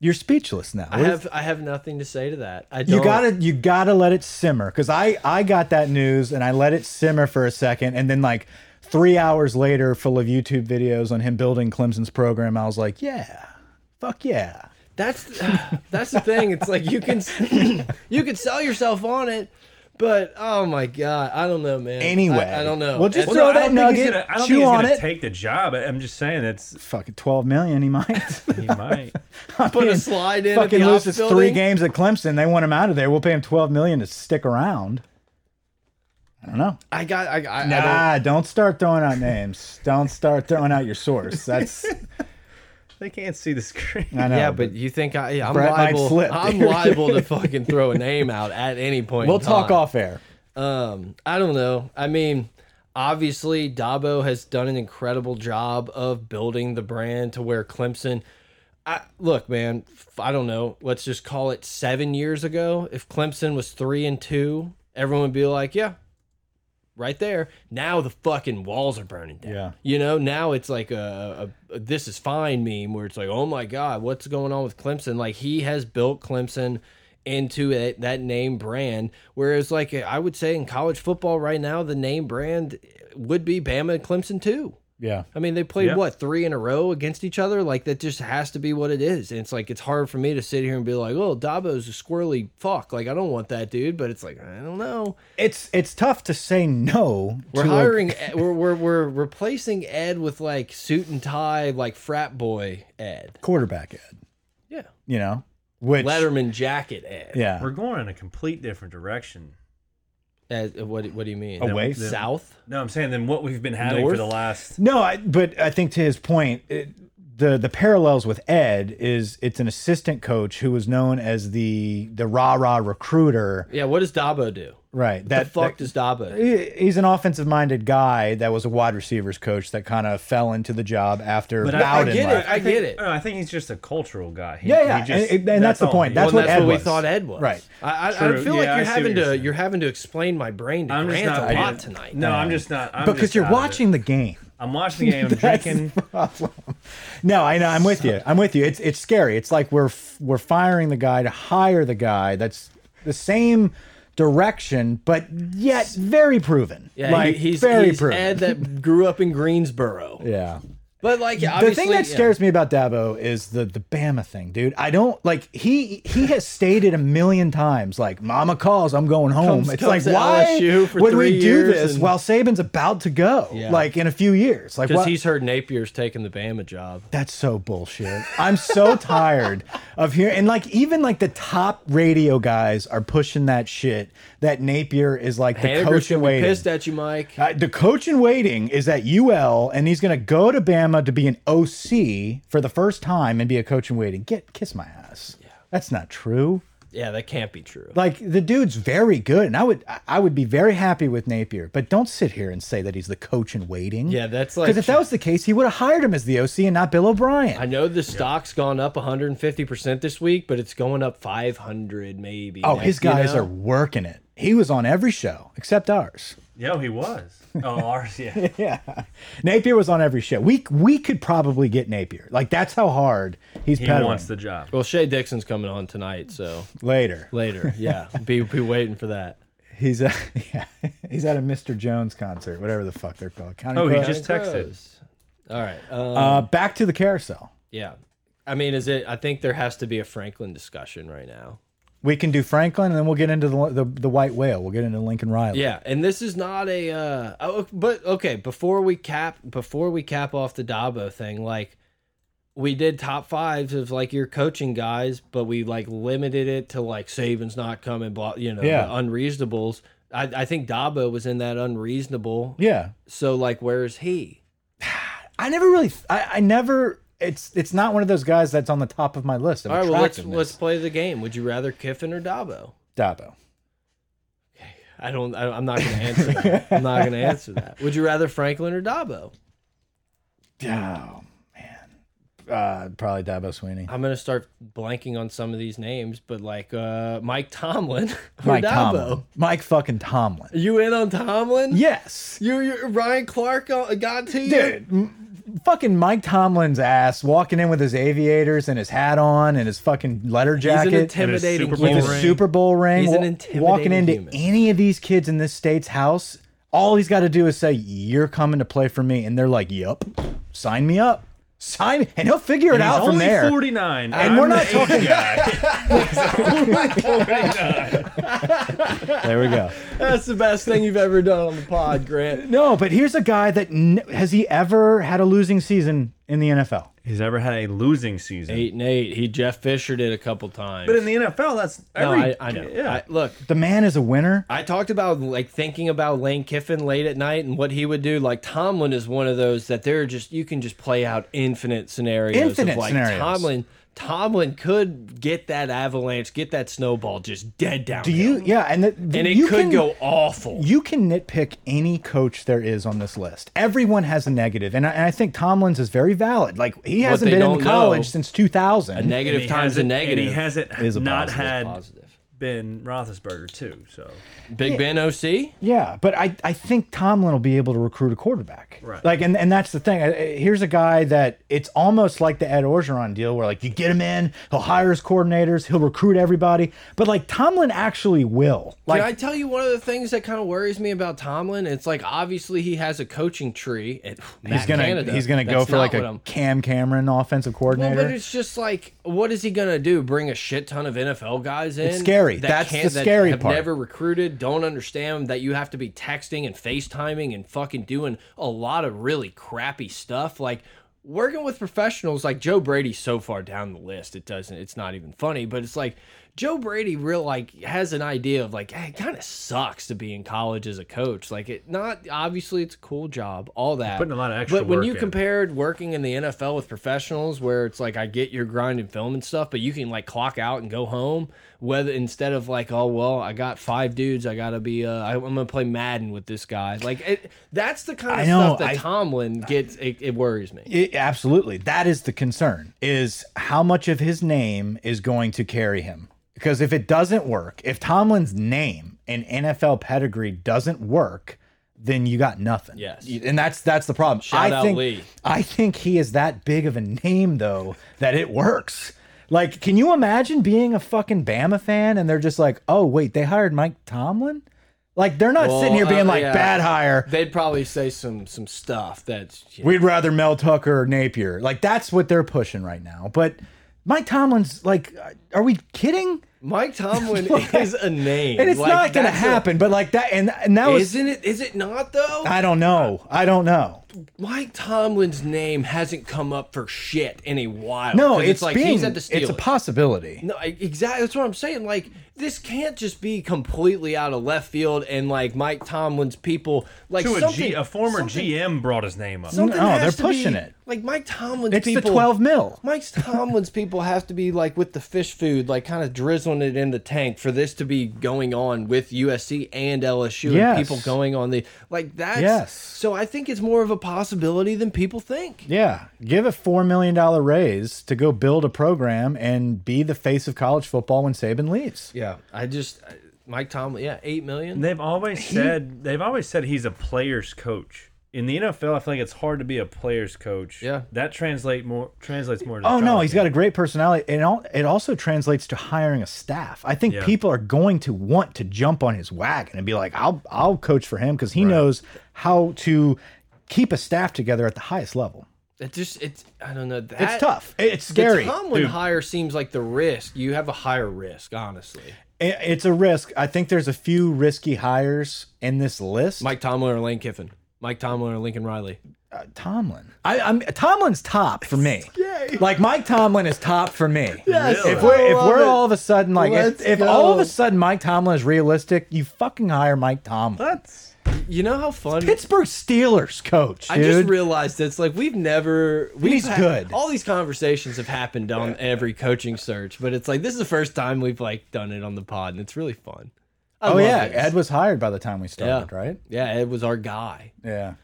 B: You're speechless now.
A: I
B: What is-
A: have I have nothing to say to that. I don't.
B: you gotta you gotta let it simmer because I I got that news and I let it simmer for a second and then like three hours later, full of YouTube videos on him building Clemson's program, I was like, yeah, fuck yeah.
A: That's that's the thing. It's like you can you can sell yourself on it, but oh my god, I don't know, man. I-
B: Anyway.
A: I, don't know.
B: Well, just
A: It's-
B: throw
D: I
B: that
D: don't think he's
B: nugget,
D: gonna- I don't
B: chew
D: think he's
B: on
D: gonna
B: it.
D: take the job. I'm just saying it's
B: Fucking twelve million, he might.
D: he might.
A: put a slide in. at
B: fucking
A: the
B: loses
A: office
B: three
A: building.
B: games at Clemson. They want him out of there. We'll pay him twelve million to stick around. I don't know.
A: I got. I, I, I don't,
B: Nah, don't start throwing out names. don't start throwing out your source. That's
D: They can't see the screen.
B: I know.
A: yeah, but you think I, I'm
B: Brett might
A: liable?
B: slip.
A: I'm liable to fucking throw a name out at any point.
B: we'll
A: in
B: talk
A: time.
B: off air.
A: Um, I don't know. I mean, obviously, Dabo has done an incredible job of building the brand to where Clemson. I, look, man, f- I don't know. Let's just call it seven years ago. If Clemson was three and two, everyone would be like, yeah, right there. Now the fucking walls are burning down.
B: Yeah.
A: You know, now it's like a, a, a this is fine meme where it's like, oh my God, what's going on with Clemson? Like, he has built Clemson into it, that name brand. Whereas, like, I would say in college football right now, the name brand would be Bama and Clemson, too.
B: Yeah.
A: I mean, they played
D: Yeah.
A: what three in a row against each other. Like that just has to be what it is. And it's like it's hard for me to sit here and be like, "Oh, Dabo's a squirrely fuck." Like I don't want that dude. But it's like I don't know.
B: It's it's tough to say no.
A: We're
B: to a-
A: hiring. Ed- we're, we're we're replacing Ed with like suit and tie, like frat boy Ed.
B: quarterback Ed.
A: Yeah,
B: You know, which
A: Letterman jacket Ed.
B: yeah
D: We're going in a complete different direction.
A: As- what What do you mean?
B: away.
A: South.
D: No, I'm saying than what we've been having
A: North?
D: for the last.
B: No, I, but I think to his point, it, the the parallels with Ed is it's an assistant coach who was known as the the rah rah recruiter.
A: Yeah. What does Dabo do?
B: Right.
A: What
B: That
A: the fuck
B: that-
A: does Dabo? do?
B: he- he's an offensive minded guy that was a wide receivers coach that kind of fell into the job after
D: But I- I
B: Bowden
A: get
B: left.
A: it. I
D: think-
A: get it.
D: No, I think he's just a cultural guy. He-
B: Yeah, yeah,
D: he just-
B: and- and that's the
D: all
B: point.
D: he
B: That's
D: is.
A: Well,
B: what
A: that's
B: Ed
A: what we
B: was.
A: thought Ed was.
B: Right.
A: I, I, I
D: True.
A: feel like
D: Yeah, I
A: you're
D: see what
A: having
D: you're
A: to
D: saying.
A: you're having to explain my brain to
D: I'm just
A: Grant
D: not
A: a lot
D: paying-
A: tonight.
D: No, I'm just not. I'm
B: because
D: just
B: you're
D: out of it.
B: watching the game.
D: I'm watching the game. I'm
B: That's
D: drinking.
B: the problem. No, I know. I'm with you. I'm with you. It's it's scary. It's like we're f- we're firing the guy to hire the guy that's the same direction, but yet very proven.
A: Yeah,
B: like
A: he- he's,
B: very
A: he's
B: proven.
A: Ed that grew up in Greensboro.
B: yeah.
A: But like
B: The
A: obviously,
B: thing that
A: yeah.
B: scares me about Dabo is the the Bama thing, dude. I don't like he he has stated a million times like Mama calls, I'm going home.
A: Comes-
B: it's
A: comes
B: like
A: to
B: why
A: LSU for
B: would we
A: three
B: do
A: years
B: this
A: and-
B: while Saban's about to go?
A: Yeah.
B: Like in a few years, like
A: because
B: why-
A: he's heard Napier's taking the Bama job.
B: That's so bullshit. I'm so tired of hearing and like even like the top radio guys are pushing that shit that Napier is like the
A: Haniger's
B: coach in
A: gonna be
B: waiting.
A: pissed at you, Mike.
B: Uh, the coach in waiting is at UL and he's going to go to Bama Alabama to be an OC for the first time and be a coach in waiting. Get kiss my ass. That's not true.
A: Yeah, that can't be true.
B: Like the dude's very good, and I would I- I would be very happy with Napier. But don't sit here and say that he's the coach in waiting.
A: Yeah, that's
B: because
A: like-
B: if that was the case, he would have hired him as the OC and not Bill O'Brien.
A: I know the stock's gone up 150% this week, but it's going up 500 maybe.
B: Oh,
A: next,
B: his guys
A: you know?
B: are working it. He was on every show except ours.
D: Yeah, he was. Oh, ours, yeah.
B: Yeah, Napier was on every show. We we could probably get Napier. Like that's how hard he's
D: He
B: peddling.
D: wants the job.
A: Well, Shea Dixon's coming on tonight, so
B: Later,
A: later. Yeah, be be waiting for that.
B: he's a, yeah, he's at a Mr. Jones concert, whatever the fuck they're called. County
D: Oh, he
B: Club.
D: just texted.
A: Gross. All right. Um,
B: uh, back to the carousel.
A: yeah. I mean, is it? I think there has to be a Franklin discussion right now.
B: We can do Franklin, and then we'll get into the the, the white whale. We'll get into Lincoln Riley.
A: Yeah, and this is not a. Uh, oh, but okay, before we cap, before we cap off the Dabo thing, like we did top fives of like your coaching guys, but we like limited it to like Saban's not coming, blah, you know, the
B: Yeah.
A: unreasonables. I, I think Dabo was in that unreasonable.
B: yeah.
A: So like, where is he?
B: I never really. I, I never. It's it's not one of those guys that's on the top of my list. Of
A: All right, well let's
B: attractiveness.
A: let's play the game. Would you rather Kiffin or Dabo?
B: Dabo.
A: I don't. I, I'm not going to answer that. I'm not going to answer that. Would you rather Franklin or Dabo?
B: Oh man, uh, probably Dabo Sweeney.
A: I'm gonna start blanking on some of these names, but like uh, Mike Tomlin or
B: Mike
A: Dabo.
B: Tomlin. Mike fucking Tomlin.
A: You in on Tomlin?
B: Yes.
A: You, you Ryan Clark uh, got to you.
B: Dude, m- fucking Mike Tomlin's ass walking in with his aviators and his hat on and his fucking letter
A: He's an
B: jacket.
A: intimidating
D: Super Bowl
B: with
A: human.
B: his
D: ring.
B: Super Bowl ring.
A: He's an
B: wa-
A: intimidating
B: walking into
A: human.
B: any of these kids in this state's house, all he's got to do is say, "You're coming to play for me," and they're like, "Yup, sign me up, sign," me. and he'll figure it out
D: He's
B: from
D: only
B: there.
D: 49.
B: And we're not talking- There we go.
A: That's the best thing you've ever done on the pod, Grant.
B: No, but here's a guy that n has he ever had a losing season in the NFL?
D: He's ever had a losing season.
A: Eight and eight. He Jeff Fisher did a couple times.
D: But in the NFL, that's
A: no,
D: every,
A: I, I know.
D: Yeah.
A: I, look,
B: The man is a winner.
A: I talked about like thinking about Lane Kiffin late at night and what he would do. Like Tomlin is one of those that they're just you can just play out infinite scenarios.
B: Infinite
A: of, like,
B: scenarios.
A: Tomlin, Tomlin could get that avalanche, get that snowball just dead down.
B: Do you? Yeah, and the, the-
A: And it
B: you
A: could
B: can-
A: go awful.
B: You can nitpick any coach there is on this list. Everyone has a negative, and I, and I think Tomlin's is very valid. Like he hasn't
A: they
B: been in
A: don't
B: college
A: know-
B: since 2000.
A: A negative
D: he
A: times a
D: hasn't- and
A: negative.
D: he hasn't
B: Is a
D: not
B: positive,
D: had
A: positive.
D: Ben Roethlisberger too. So
A: Big Ben OC.
B: Yeah, but I, I think Tomlin will be able to recruit a quarterback.
D: Right.
B: Like, and, and that's the thing. I- I- Here's a guy that it's almost like the Ed Orgeron deal where, like, you get him in, he'll hire his coordinators, he'll recruit everybody. But, like, Tomlin actually will. Like,
A: Can I tell you one of the things that kind of worries me about Tomlin? It's like obviously he has a coaching tree. At
B: he's going to he's gonna go for, like, a Cam Cameron offensive coordinator.
A: Well, but it's just like, what is he gonna do? Bring a shit ton of NFL guys in?
B: scary. That's
A: can't-
B: the scary
A: that have
B: part.
A: Never recruited. Don't understand that you have to be texting and FaceTiming and fucking doing a lot of really crappy stuff. Like working with professionals, like Joe Brady's so far down the list, it doesn't. It's not even funny. But it's like Joe Brady real like has an idea of like, hey, it kind of sucks to be in college as a coach. Like it, not obviously it's a cool job, all that.
D: Putting a lot of extra
A: But when
D: work
A: you
D: in.
A: compare compared working in the NFL with professionals where it's like I get your grind and film and stuff, but you can like clock out and go home. Whether instead of like, oh well, I got five dudes, I gotta be, uh, I, I'm gonna play Madden with this guy. Like it, that's the kind
B: I
A: of
B: know,
A: stuff that
B: I-
A: Tomlin gets. It, it worries me.
B: It- absolutely. That is the concern is how much of his name is going to carry him. Because if it doesn't work, if Tomlin's name and NFL pedigree doesn't work, then you got nothing.
A: Yes.
B: And that's that's the problem.
A: Shout
B: I
A: out
B: think
A: Lee.
B: I think he is that big of a name though that it works. Like, can you imagine being a fucking Bama fan and they're just like, oh wait, they hired Mike Tomlin? Like they're not
A: Well,
B: sitting here being
A: uh,
B: like
A: yeah.
B: bad hire.
A: They'd probably say some some stuff that's you know,
B: We'd rather Mel Tucker or Napier. Like that's what they're pushing right now. But Mike Tomlin's like I- Are we kidding?
A: Mike Tomlin is a name,
B: And it's
A: Like,
B: not going to
A: that's a-
B: happen. but like that, and and that was.
A: isn't it? Is it not though?
B: I don't know. I don't know.
A: Mike Tomlin's name hasn't come up for shit in a while.
B: No,
A: 'cause
B: it's,
A: like
B: being.
A: he's at the
B: it's a
A: Steelers.
B: possibility.
A: No, exactly. That's what I'm saying. Like, this can't just be completely out of left field and like Mike Tomlin's people. Like,
D: To a,
A: something,
D: G, a former
A: something-
D: GM brought his name up.
A: Something
B: No,
A: has
B: they're
A: to
B: pushing
A: be-
B: it.
A: Like Mike Tomlin's
B: It's
A: people.
B: the twelve mil.
A: Mike Tomlin's people have to be like with the fish food, like kind of drizzling it in the tank for this to be going on with USC and LSU
B: Yes.
A: and people going on the like that's
B: Yes.
A: So I think it's more of a possibility than people think.
B: Yeah, give a four million dollar raise to go build a program and be the face of college football when Saban leaves.
A: Yeah, I just Mike Tomlin. Yeah, eight million.
D: They've always said they've always said he's a player's coach. In the NFL, I feel like it's hard to be a player's coach.
A: Yeah.
D: that translate more translates more. To
B: Oh no,
D: college.
B: he's got a great personality, and al- it also translates to hiring a staff. I think
D: Yeah.
B: people are going to want to jump on his wagon and be like, "I'll I'll coach for him" because he knows how to keep a staff together at the highest level.
A: It just it's I don't know. That,
B: It's tough. It's scary.
A: The Tomlin hire seems like the risk. You have a higher risk, honestly.
B: It- It's a risk. I think there's a few risky hires in this list.
A: Mike Tomlin or Lane Kiffin. Mike Tomlin or Lincoln Riley.
B: Uh, Tomlin. I, I'm Tomlin's top for me. Like Mike Tomlin is top for me. If we're if we're all of a sudden like if,
A: Let's
B: if all of
A: go.
B: a sudden Mike Tomlin is realistic, you fucking hire Mike Tomlin.
D: That's
A: You know how fun
B: Pittsburgh Steelers coach, dude.
A: I just realized it's like we've never we've
B: He's
A: had-
B: good.
A: All these conversations have happened on every coaching search, but it's like this is the first time we've like done it on the pod, and it's really fun. I
B: oh
A: love
B: yeah,
A: this.
B: Ed was hired by the time we
A: yeah,
B: started, right?
A: Yeah, Ed was our guy.
B: Yeah.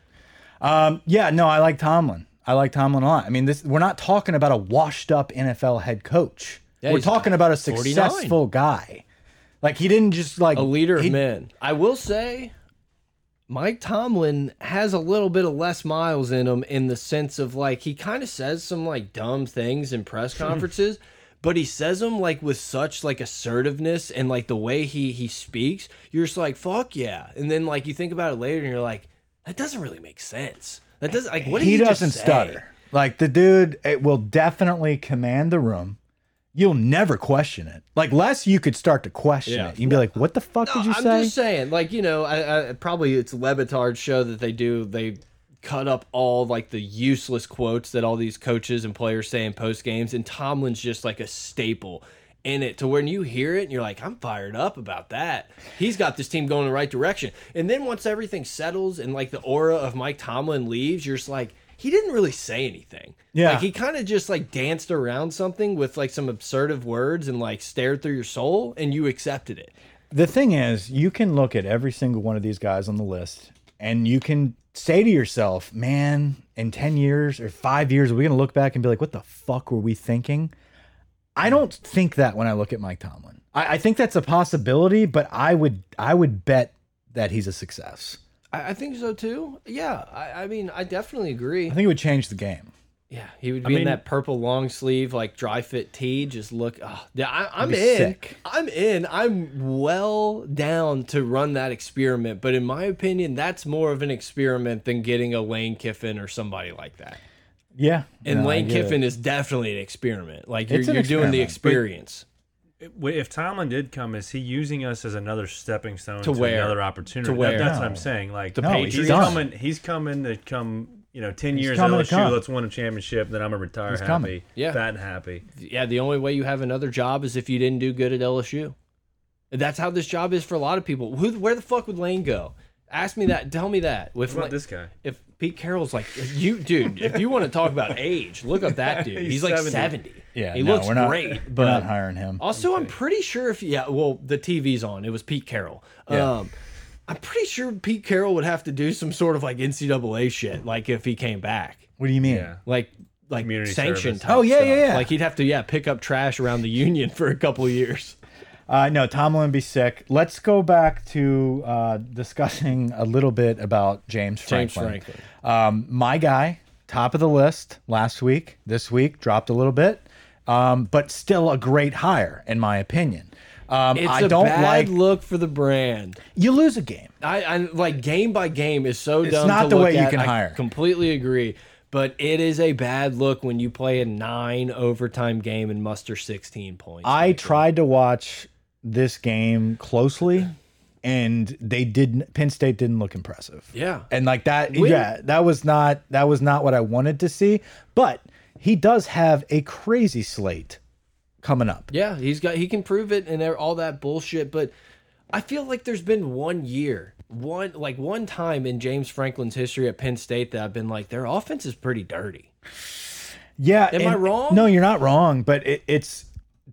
B: Um, yeah, no, I like Tomlin. I like Tomlin a lot. I mean, this we're not talking about a washed up NFL head coach.
A: Yeah,
B: we're
A: he's
B: talking about a
A: 49.
B: successful guy. Like he didn't just like
A: A leader of
B: he-
A: men. I will say, Mike Tomlin has a little bit of less miles in him in the sense of like he kind of says some like dumb things in press conferences. But he says them like with such like assertiveness and like the way he he speaks, you're just like fuck yeah, and then like you think about it later and you're like that doesn't really make sense. That doesn't like what did
B: he,
A: he, just
B: doesn't
A: say?
B: stutter. Like the dude it will definitely command the room. You'll never question it. Like less you could start to question
A: Yeah.
B: it. You'd be like, "What the fuck did you
A: I'm
B: say?"
A: just saying, like you know, I, I, probably it's Levitard's show that they do. They cut up all like the useless quotes that all these coaches and players say in post games, and Tomlin's just like a staple in it. To when you hear it, and you're like, I'm fired up about that. He's got this team going in the right direction. And then once everything settles and like the aura of Mike Tomlin leaves, you're just like. He didn't really say anything.
B: Yeah.
A: Like he kind of just like danced around something with like some absurd words and like stared through your soul and you accepted it.
B: the thing is, you can look at every single one of these guys on the list and you can say to yourself, man, in 10 years or five years, are we going to look back and be like, what the fuck were we thinking? I don't think that when I look at Mike Tomlin. I, I think that's a possibility, but I would I would bet that he's a success.
A: I, I think so too. Yeah, I, I mean, I definitely agree.
B: I think it would change the game.
A: Yeah, he would be in
D: mean-
A: that purple long sleeve, like dry fit tee. Just look, ah, yeah, I, I'm
B: He'd
A: in.
B: be sick.
A: I'm in. I'm well down to run that experiment. But in my opinion, that's more of an experiment than getting a Lane Kiffin or somebody like that.
B: Yeah.
A: And
B: No, I
A: Lane
B: get it.
A: Kiffin is definitely an experiment. Like you're,
B: It's an
A: you're doing the
B: experiment,
A: experience.
D: if Tomlin did come, is he using us as another stepping stone to,
A: where?
D: another opportunity?
A: To
D: That-
A: where?
D: that's what
B: No.
D: I'm saying. Like
B: No, he's
D: he's
B: done.
D: coming. He's coming to come. You know, ten years
B: coming to
D: LSU.
B: come.
D: Let's win a championship. Then I'm gonna retire happy,
B: coming.
A: Yeah.
D: fat and happy.
A: yeah, the only way you have another job is if you didn't do good at LSU. That's how this job is for a lot of people. Who, where the fuck would Lane go? Ask me that. Tell me that. With
D: What about
A: like-
D: this guy?
A: If Pete Carroll's like if you, dude. If you want to talk about age, look up that dude. He's,
D: He's
A: like
D: 70.
A: seventy.
B: Yeah,
A: he
B: no,
A: looks
B: we're not,
A: great. But
B: we're not hiring him.
A: also, I'm pretty sure if yeah, well, the TV's on. It was Pete Carroll.
B: Yeah.
A: Um, I'm pretty sure Pete Carroll would have to do some sort of like NCAA shit, like if he came back
B: What do you mean?
D: Yeah.
A: like like
D: Community
A: sanction
D: service.
A: type.
B: Oh, yeah,
A: stuff.
B: yeah, yeah.
A: Like he'd have to yeah pick up trash around the union for a couple years.
B: Uh, no, Tomlin would be sick. Let's go back to uh, discussing a little bit about James Franklin.
A: James Franklin.
B: Um, my guy, top of the list last week. This week dropped a little bit, um, but still a great hire in my opinion. Um,
A: It's
B: I
A: a
B: don't
A: bad
B: like
A: look for the brand.
B: you lose a game.
A: I, I like game by game is so dumb.
B: not
A: to
B: the
A: look
B: way you
A: at.
B: can
A: I
B: hire.
A: Completely agree. But it is a bad look when you play a nine overtime game and muster 16 points.
B: I tried to watch this game closely, and they didn't. Penn State didn't look impressive.
A: Yeah.
B: and like that.
A: Win.
B: Yeah, that was not that was not what I wanted to see. But he does have a crazy slate coming up.
A: Yeah, he's got he can prove it and all that bullshit. But I feel like there's been one year, one like one time in James Franklin's history at Penn State that I've been like, their offense is pretty dirty.
B: Yeah,
A: Am I
B: and-
A: wrong?
B: No, you're not wrong. But it, it's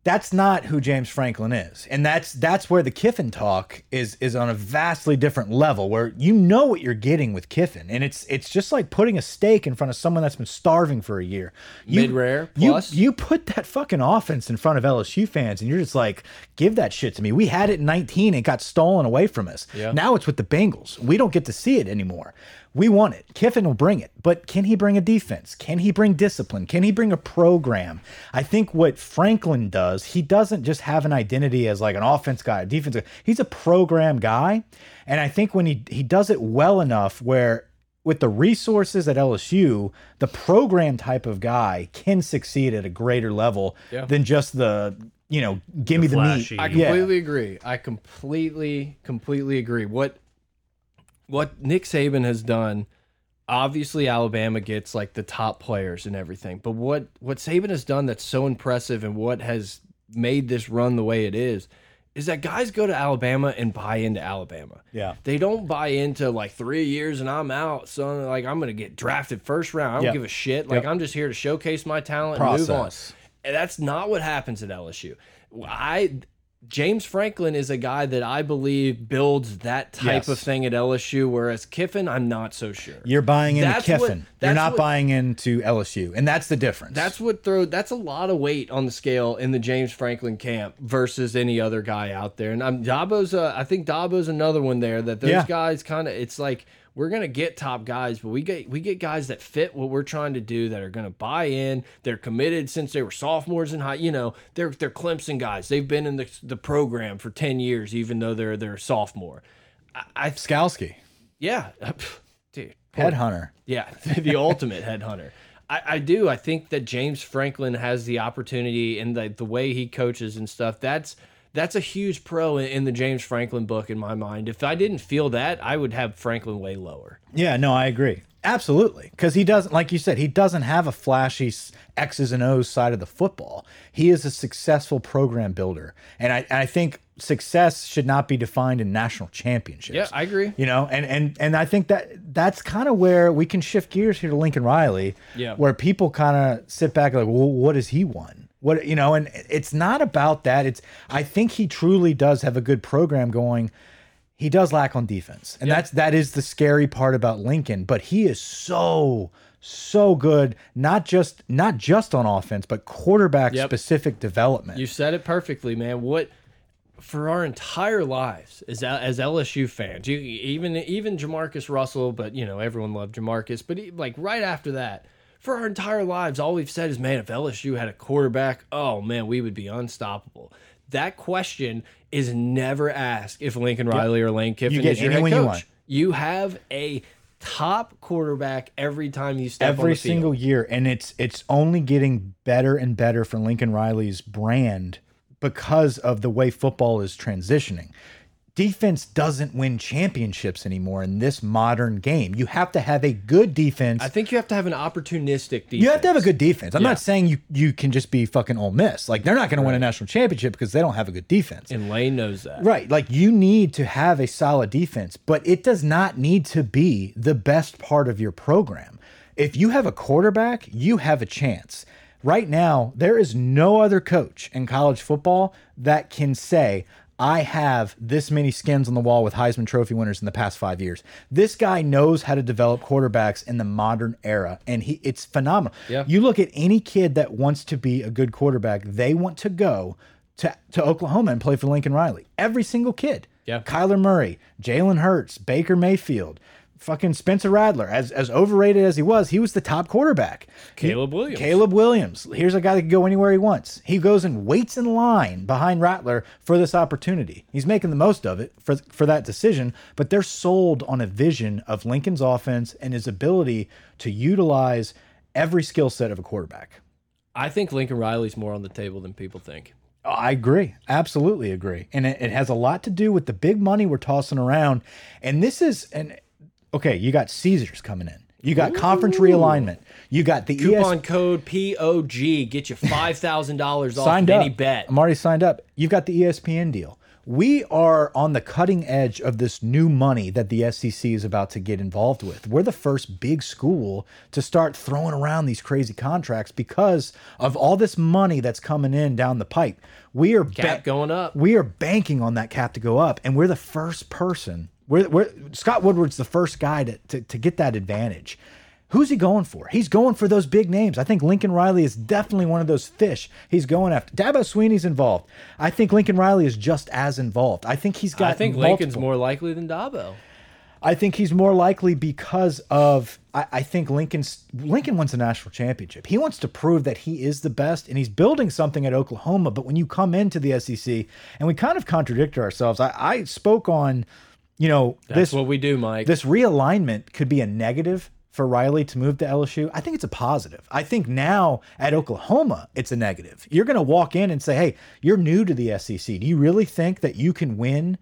B: that's not who James Franklin is, and that's that's where the Kiffin talk is is on a vastly different level, where you know what you're getting with Kiffin, and it's it's just like putting a steak in front of someone that's been starving for a year. You-
A: Mid-rare
B: you-
A: plus.
B: You, put that fucking offense in front of LSU fans, and you're just like, give that shit to me. We had it in 19, it got stolen away from us. Now it's with the Bengals. We don't get to see it anymore. We want it. Kiffin will bring it, but can he bring a defense? Can he bring discipline? Can he bring a program? I think what Franklin does, he doesn't just have an identity as like an offense guy, a defense guy. He's a program guy, and I think when he he does it well enough, where with the resources at LSU, the program type of guy can succeed at a greater level than just the you know give me the
D: flashy.
B: meat.
A: I
B: Yeah.
A: completely agree. I completely, completely agree. What what Nick Saban has done, obviously Alabama gets like the top players and everything. But what what Saban has done that's so impressive and what has made this run the way it is is that guys go to Alabama and buy into Alabama.
B: Yeah.
A: They don't buy into like three years and I'm out, son. Like I'm gonna get drafted first round. I don't
B: Yep.
A: give a shit. Like I'm just here to showcase my talent and move on.
B: Process.
A: And that's not what happens at LSU. I James Franklin is a guy that I believe builds that type
B: Yes.
A: of thing at LSU, whereas Kiffin, I'm not so sure.
B: You're buying into
A: That's what-
B: Kiffin. You're
A: that's
B: not
A: what-
B: buying into LSU, and that's the difference.
A: that's what throw. That's a lot of weight on the scale in the James Franklin camp versus any other guy out there. And I'm Dabo's. Uh, I think Dabo's another one there. That those
B: Yeah.
A: guys kind of. It's like we're gonna get top guys, but we get we get guys that fit what we're trying to do that are gonna buy in. They're committed since they were sophomores in high. You know, they're they're Clemson guys. They've been in the the program for ten years, even though they're they're a sophomore. I, I
B: Skalski,
A: yeah, dude.
B: headhunter.
A: Yeah, the ultimate headhunter. I, I do. I think that James Franklin has the opportunity and the, the way he coaches and stuff. That's that's a huge pro in, in the James Franklin book in my mind. If I didn't feel that, I would have Franklin way lower.
B: Yeah, no, I agree. Absolutely. Because he doesn't, like you said, he doesn't have a flashy s- X's and O's side of the football. He is a successful program builder. And I, and I think success should not be defined in national championships.
A: Yeah, I agree.
B: You know, and, and, and I think that that's kind of where we can shift gears here to Lincoln Riley,
A: Yeah.
B: where people kind of sit back like, well, what has he won? What, you know, and it's not about that. It's, I think he truly does have a good program going he does lack on defense. And that's that is the scary part about Lincoln, but he is so so good not just not just on offense, but quarterback
A: Yep.
B: specific development.
A: You said it perfectly, man. What for our entire lives as as LSU fans, you even even Jamarcus Russell, but you know everyone loved Jamarcus, but he, like right after that, for our entire lives, all we've said is, man, if LSU had a quarterback, oh man, we would be unstoppable. That question is never asked if Lincoln Riley or Lane Kiffin
B: get
A: is your head
B: anyone
A: coach.
B: you
A: You,
B: want.
A: have a top quarterback every time you step on
B: every
A: the field.
B: single year and it's it's only getting better and better for Lincoln Riley's brand because of the way football is transitioning. Defense doesn't win championships anymore in this modern game. You have to have a good defense
A: I think you have to have an opportunistic defense.
B: You have to have a good defense. I'm not saying you you can just be fucking Ole Miss. Like they're not going to win a national championship because they don't have a good defense.
A: and Lane knows that.
B: Right. Like you need to have a solid defense, but it does not need to be the best part of your program. If you have a quarterback, you have a chance. Right now, there is no other coach in college football that can say, I have this many skins on the wall with Heisman Trophy winners in the past five years. This guy knows how to develop quarterbacks in the modern era, and he it's phenomenal.
A: Yeah.
B: You look at any kid that wants to be a good quarterback, they want to go to, to Oklahoma and play for Lincoln Riley. Every single kid.
A: Yeah.
B: Kyler Murray, Jalen Hurts, Baker Mayfield, fucking Spencer Radler. As as overrated as he was, he was the top quarterback.
A: Caleb Williams.
B: Caleb Williams. Here's a guy that can go anywhere he wants. He goes and waits in line behind Rattler for this opportunity. He's making the most of it for, for that decision, but they're sold on a vision of Lincoln's offense and his ability to utilize every skill set of a quarterback.
A: I think Lincoln Riley's more on the table than people think.
B: Oh, I agree. Absolutely agree. And it, it has a lot to do with the big money we're tossing around. And this is and okay, you got Caesars coming in. You got conference realignment. You got the E
A: Coupon code POG get you five thousand dollars off
B: signed
A: of
B: up.
A: any bet.
B: I'm already signed up. You've got the E ESPN deal. We are on the cutting edge of this new money that the SEC is about to get involved with. We're the first big school to start throwing around these crazy contracts because of all this money that's coming in down the pipe. We are
A: Cap
B: ba-
A: going up.
B: we are banking on that cap to go up, and we're the first person. We're, we're Scott Woodward's the first guy to, to to get that advantage. Who's he going for? He's going for those big names. I think Lincoln Riley is definitely one of those fish he's going after. Dabo Sweeney's involved. I think Lincoln Riley is just as involved. I think he's got.
A: I think Lincoln's
B: multiple-
A: more likely than Dabo.
B: I think he's more likely because of I, I think Lincoln's Lincoln wants a national championship. He wants to prove that he is the best, and he's building something at Oklahoma. But when you come into the SEC, and we kind of contradict ourselves, I, I spoke on, you know,
A: That's
B: this
A: what we do, Mike.
B: this realignment could be a negative for Riley to move to LSU. I think it's a positive. I think now at Oklahoma, it's a negative. You're going to walk in and say, hey, you're new to the SEC. Do you really think that you can win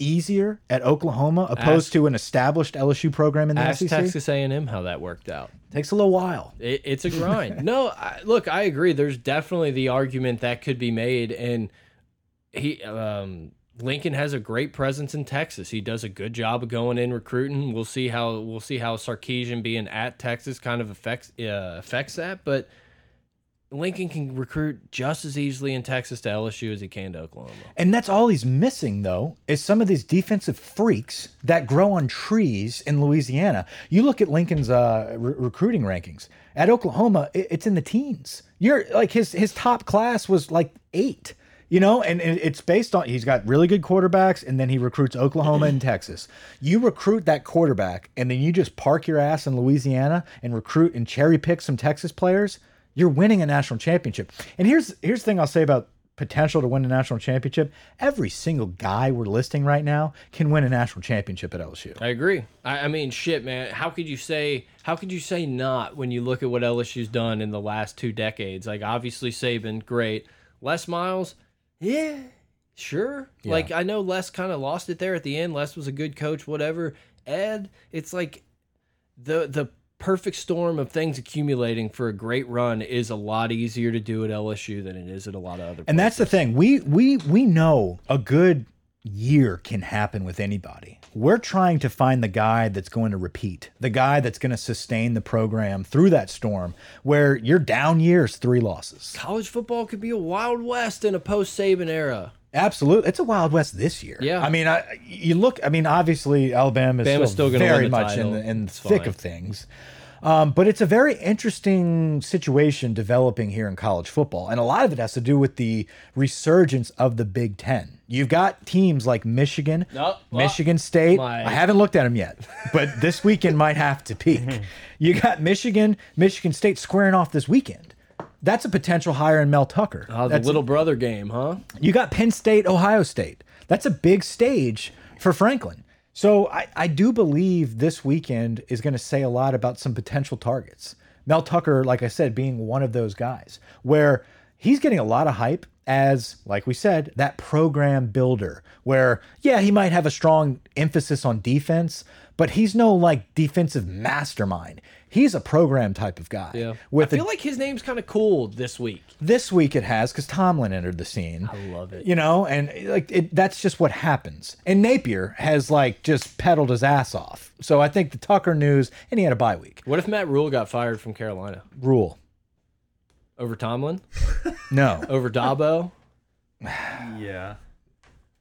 B: easier at Oklahoma opposed
A: Ask-
B: to an established LSU program in the
A: Ask
B: SEC?
A: Texas A&M how that worked out.
B: Takes a little while.
A: It, it's a grind. no, I, look, I agree. There's definitely the argument that could be made, and he um, Lincoln has a great presence in Texas. He does a good job of going in recruiting. We'll see how we'll see how Sarkeesian being at Texas kind of affects uh, affects that, but. Lincoln can recruit just as easily in Texas to LSU as he can to Oklahoma.
B: And that's all he's missing, though, is some of these defensive freaks that grow on trees in Louisiana. You look at Lincoln's uh, re recruiting rankings at Oklahoma; i- it's in the teens. You're like his his top class was like eight, you know, and, and it's based on he's got really good quarterbacks, and then he recruits Oklahoma and Texas. You recruit that quarterback, and then you just park your ass in Louisiana and recruit and cherry pick some Texas players. You're winning a national championship. And here's here's the thing I'll say about potential to win a national championship, every single guy we're listing right now can win a national championship at LSU.
A: I agree. I, I mean, shit, man. How could you say? How could you say not when you look at what LSU's done in the last two decades? Like, obviously Saban, great. Les Miles, yeah, sure. Like, I know Les kind of lost it there at the end. Les was a good coach, whatever. Ed, it's like the the perfect storm of things accumulating for a great run is a lot easier to do at LSU than it is at a lot of other.
B: And that's the thing. We we we know a good year can happen with anybody. We're trying to find the guy that's going to repeat, the guy that's going to sustain the program through that storm where you're down years, three losses.
A: college football could be a wild west in a post Saban era.
B: Absolutely. It's a Wild West this year.
A: Yeah.
B: I mean, I you look, I mean, obviously Alabama is
A: Bama's still
B: still,
A: gonna win
B: very
A: the
B: much
A: title.
B: in the in the
A: It's
B: thick
A: fine.
B: of things. Um, but it's a very interesting situation developing here in college football. And a lot of it has to do with the resurgence of the Big Ten. You've got teams like Michigan,
A: Nope.
B: Michigan State.
A: my-
B: I haven't looked at them yet, but this weekend might have to peak. You got Michigan, Michigan State squaring off this weekend. That's a potential hire in Mel Tucker.
A: Oh, the
B: That's-
A: little brother game, huh?
B: you got Penn State, Ohio State. That's a big stage for Franklin. So I, I do believe this weekend is going to say a lot about some potential targets. Mel Tucker, like I said, being one of those guys where he's getting a lot of hype as, like we said, that program builder, where, yeah, he might have a strong emphasis on defense, but he's no like defensive mastermind. He's a program type of guy.
A: Yeah.
B: With
A: I
B: a
A: feel like his name's kind of cool this week.
B: this week it has because Tomlin entered the scene. I
A: love it.
B: You know, and like it, that's just what happens. And Napier has like just pedaled his ass off. So I think the Tucker news, and he had a bye week.
A: What if Matt Rule got fired from Carolina
B: Rule.
A: over Tomlin,
B: No,
A: over Dabo?
D: Yeah.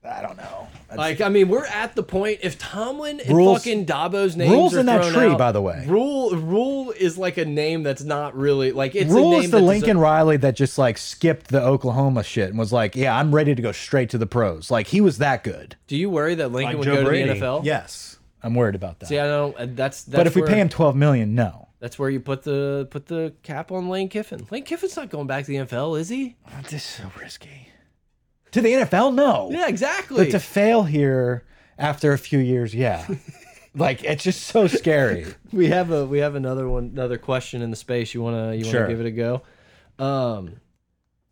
B: I don't know. That's-
A: Like, I mean, we're at the point if Tomlin and
B: Rule's-
A: fucking Dabo's names
B: Rule's
A: are
B: in that
A: thrown
B: tree,
A: out,
B: by the way.
A: Rule Rule is like a name that's not really like it's a
B: Rule
A: name
B: is the
A: that
B: Lincoln Riley that just like skipped the Oklahoma shit and was like, "Yeah, I'm ready to go straight to the pros." Like he was that good.
A: Do you worry that Lincoln would
D: Like Joe
A: go to
D: Brady.
A: the NFL?
B: Yes, I'm worried about that.
A: Oh. See, I don't. and That's, that's
B: but if we
A: where,
B: pay him 12 million, no.
A: that's where you put the put the cap on Lane Kiffin. Lane Kiffin's not going back to the NFL, is he?
B: This is so risky. To the NFL, no.
A: Yeah, exactly.
B: But to fail here after a few years, yeah. Like it's just so scary.
A: we have a we have another one another question in the space. You wanna you wanna
B: Sure.
A: give it a go? Um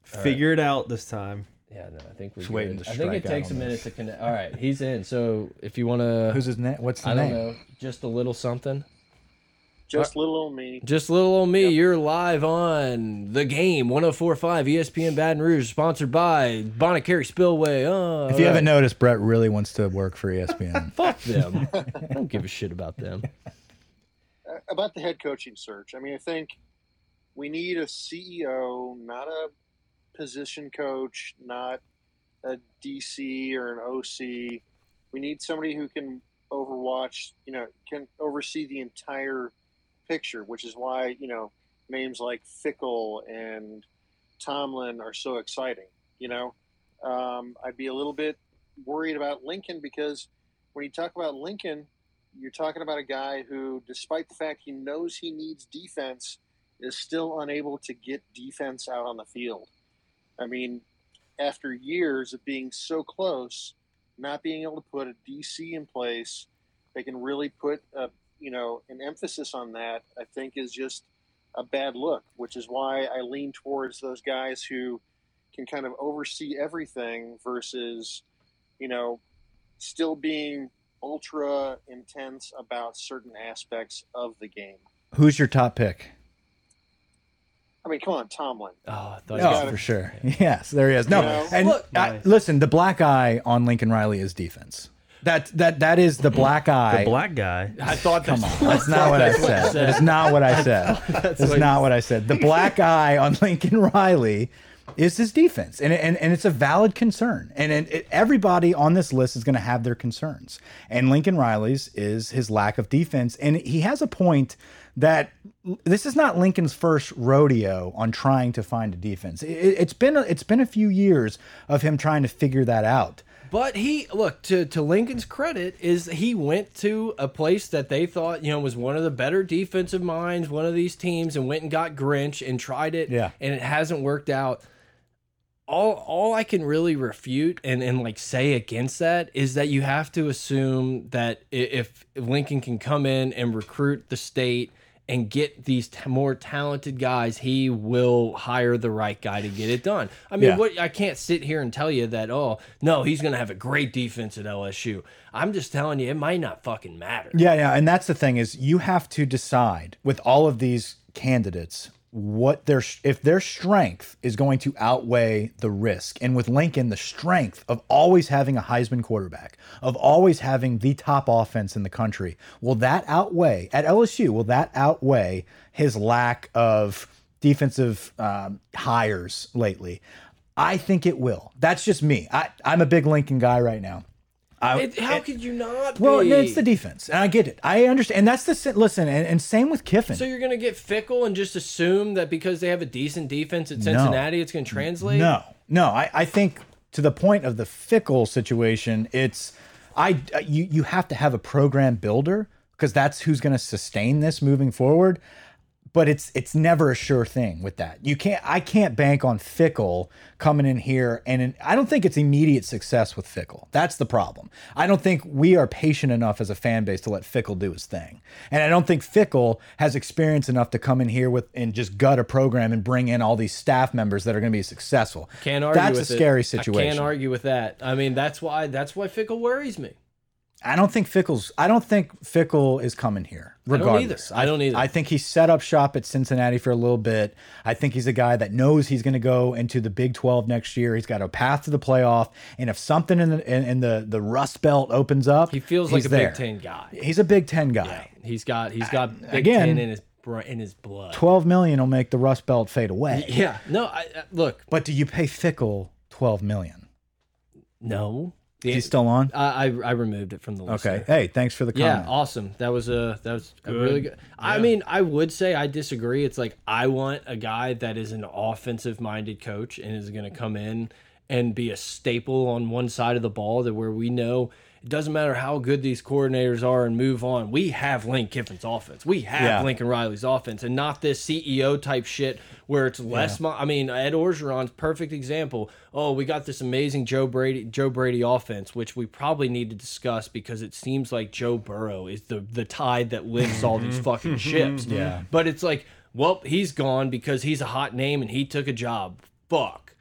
C: Figure it out this time.
A: yeah, no, I think we're
B: Just waiting
A: good.
B: to
A: I think it
B: strike out
A: takes a
B: on
A: minute
B: this.
A: to connect. All right, he's in. So if you wanna
B: Who's his name? What's the
A: I don't
B: name?
A: know, just a little something.
E: Just little old me.
A: Just little old me, you're live on the game 1045 ESPN Baton Rouge, sponsored by Bonacary Spillway. Uh,
B: If you haven't noticed, Brett really wants to work for E ESPN.
A: fuck them. I don't give a shit about them.
E: Uh, About the head coaching search, I mean, I think we need a CEO, not a position coach, not a DC or an OC. We need somebody who can overwatch, you know, can oversee the entire picture, which is why, you know, names like Fickle and Tomlin are so exciting. You know, um, I'd be a little bit worried about Lincoln because when you talk about Lincoln, you're talking about a guy who, despite the fact he knows he needs defense, is still unable to get defense out on the field. I mean, after years of being so close, not being able to put a DC in place, they can really put a you know an emphasis on that. I think is just a bad look, which is why I lean towards those guys who can kind of oversee everything versus you know still being ultra intense about certain aspects of the game.
B: Who's your top pick?
E: I mean, come on, Tomlin.
A: Oh, I thought you
B: Oh,
E: gotta-
B: for sure. Yes, there he is. No,
E: You know?
B: and
A: Look,
B: I, listen, the black eye on Lincoln Riley is defense. That that that is the black eye.
C: The black guy.
A: I thought
B: Come on, that's not what I said. That's not what I said. That's
A: what you
B: not what I said. The black eye on Lincoln Riley is his defense, and and, and it's a valid concern. And and it, everybody on this list is going to have their concerns, and Lincoln Riley's is his lack of defense. And he has a point that this is not Lincoln's first rodeo on trying to find a defense. It, it's been a, it's been a few years of him trying to figure that out.
A: But he look to to Lincoln's credit is he went to a place that they thought you know was one of the better defensive minds, one of these teams, and went and got Grinch and tried it.
B: Yeah.
A: and it hasn't worked out. All all I can really refute and and like say against that is that you have to assume that i- if Lincoln can come in and recruit the state. And get these t more talented guys. He will hire the right guy to get it done. I mean,
B: Yeah.
A: what I can't sit here and tell you that, oh, no, he's going to have a great defense at LSU. I'm just telling you, it might not fucking matter.
B: Yeah, yeah, and that's the thing is you have to decide with all of these candidates what their if their strength is going to outweigh the risk. And with Lincoln, the strength of always having a Heisman quarterback, of always having the top offense in the country, will that outweigh at LSU? Will that outweigh his lack of defensive um, hires lately? I think it will. That's just me. I, I'm a big Lincoln guy right now.
A: It- how could you not?
B: Well,
A: be?
B: no, it's the defense, and I get it. I understand. And that's the si- listen, and, and same with Kiffin.
A: So you're going to get fickle and just assume that because they have a decent defense at Cincinnati, it's going to translate?
B: no, no, I, I think to the point of the fickle situation, it's I uh, you you have to have a program builder because that's who's going to sustain this moving forward. But it's it's never a sure thing with that. You can't I can't bank on Fickle coming in here and in, I don't think it's immediate success with Fickle. That's the problem. I don't think we are patient enough as a fan base to let Fickle do his thing. And I don't think Fickle has experience enough to come in here with and just gut a program and bring in all these staff members that are going to be successful.
A: Can't argue
B: That's
A: with
B: a
A: it.
B: scary
A: I
B: situation.
A: can't argue with that. I mean, that's why that's why Fickle worries me.
B: I don't think Fickle's. I don't think Fickle is coming here.
A: don't either.
B: Regardless,
A: I don't either.
B: I think he set up shop at Cincinnati for a little bit. I think he's a guy that knows he's going to go into the Big Twelve next year. He's got a path to the playoff, and if something in the in, in the the Rust Belt opens up,
A: He feels like
B: he's
A: a
B: there.
A: Big Ten guy.
B: He's a Big Ten guy.
A: He's got he's got Big
B: again-
A: Ten in his br- in his blood.
B: Twelve million will make the Rust Belt fade away.
A: Yeah. No. I, I- look.
B: But do you pay Fickle twelve million?
A: No. The-
B: He's still on.
A: I, I I removed it from the list.
B: Okay. Hey, thanks for the
A: Uh, Yeah,
B: comment.
A: awesome. That was a that was a really good. I mean, I would say I disagree. It's like I want a guy that is an offensive minded coach and is going to come in and be a staple on one side of the ball that where we know It doesn't matter how good these coordinators are and move on. We have Lane Kiffin's offense. We have
B: Yeah.
A: Lincoln Riley's offense, and not this CEO type shit where it's less. mo- I mean, Ed Orgeron's perfect example. Oh, we got this amazing Joe Brady Joe Brady offense, which we probably need to discuss because it seems like Joe Burrow is the the tide that lifts all these fucking ships.
B: Mm-hmm. Yeah.
A: but it's like, well, he's gone because he's a hot name and he took a job. Fuck.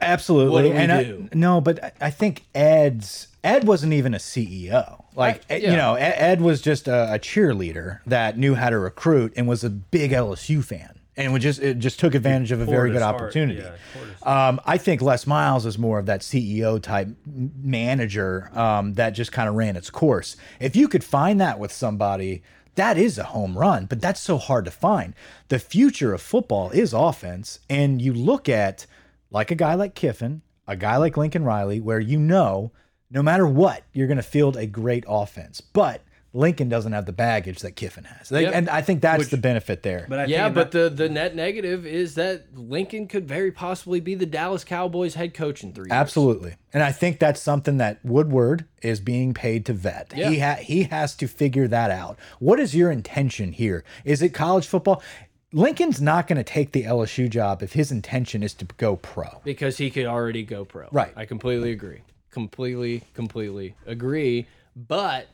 B: Absolutely.
A: What do we
B: and I-
A: do?
B: no, but I- I think Ed's Ed wasn't even a CEO. Like
A: Right,
B: Ed-
A: yeah.
B: you know, Ed, Ed was just a, a cheerleader that knew how to recruit and was a big LSU fan and would just it just took advantage of a very
D: Poured
B: good
D: his heart,
B: opportunity.
D: yeah, poured his-
B: Um, I think Les Miles is more of that CEO type m- manager um, that just kind of ran its course. If you could find that with somebody, that is a home run, but that's so hard to find. The future of football is offense. And you look at like a guy like Kiffin, a guy like Lincoln Riley, where you know no matter what, you're going to field a great offense. But Lincoln doesn't have the baggage that Kiffin has. They-
A: Yep.
B: And I think that's the benefit there.
D: But I
A: Yeah,
D: think
A: but the, the net negative is that Lincoln could very possibly be the Dallas Cowboys head coach in three years.
B: Absolutely. And I think that's something that Woodward is being paid to vet. He ha he has to figure that out. What is your intention here? Is it college football? Lincoln's not going to take the LSU job if his intention is to go pro.
A: Because he could already go pro.
B: Right.
A: I completely agree. Completely, completely agree. But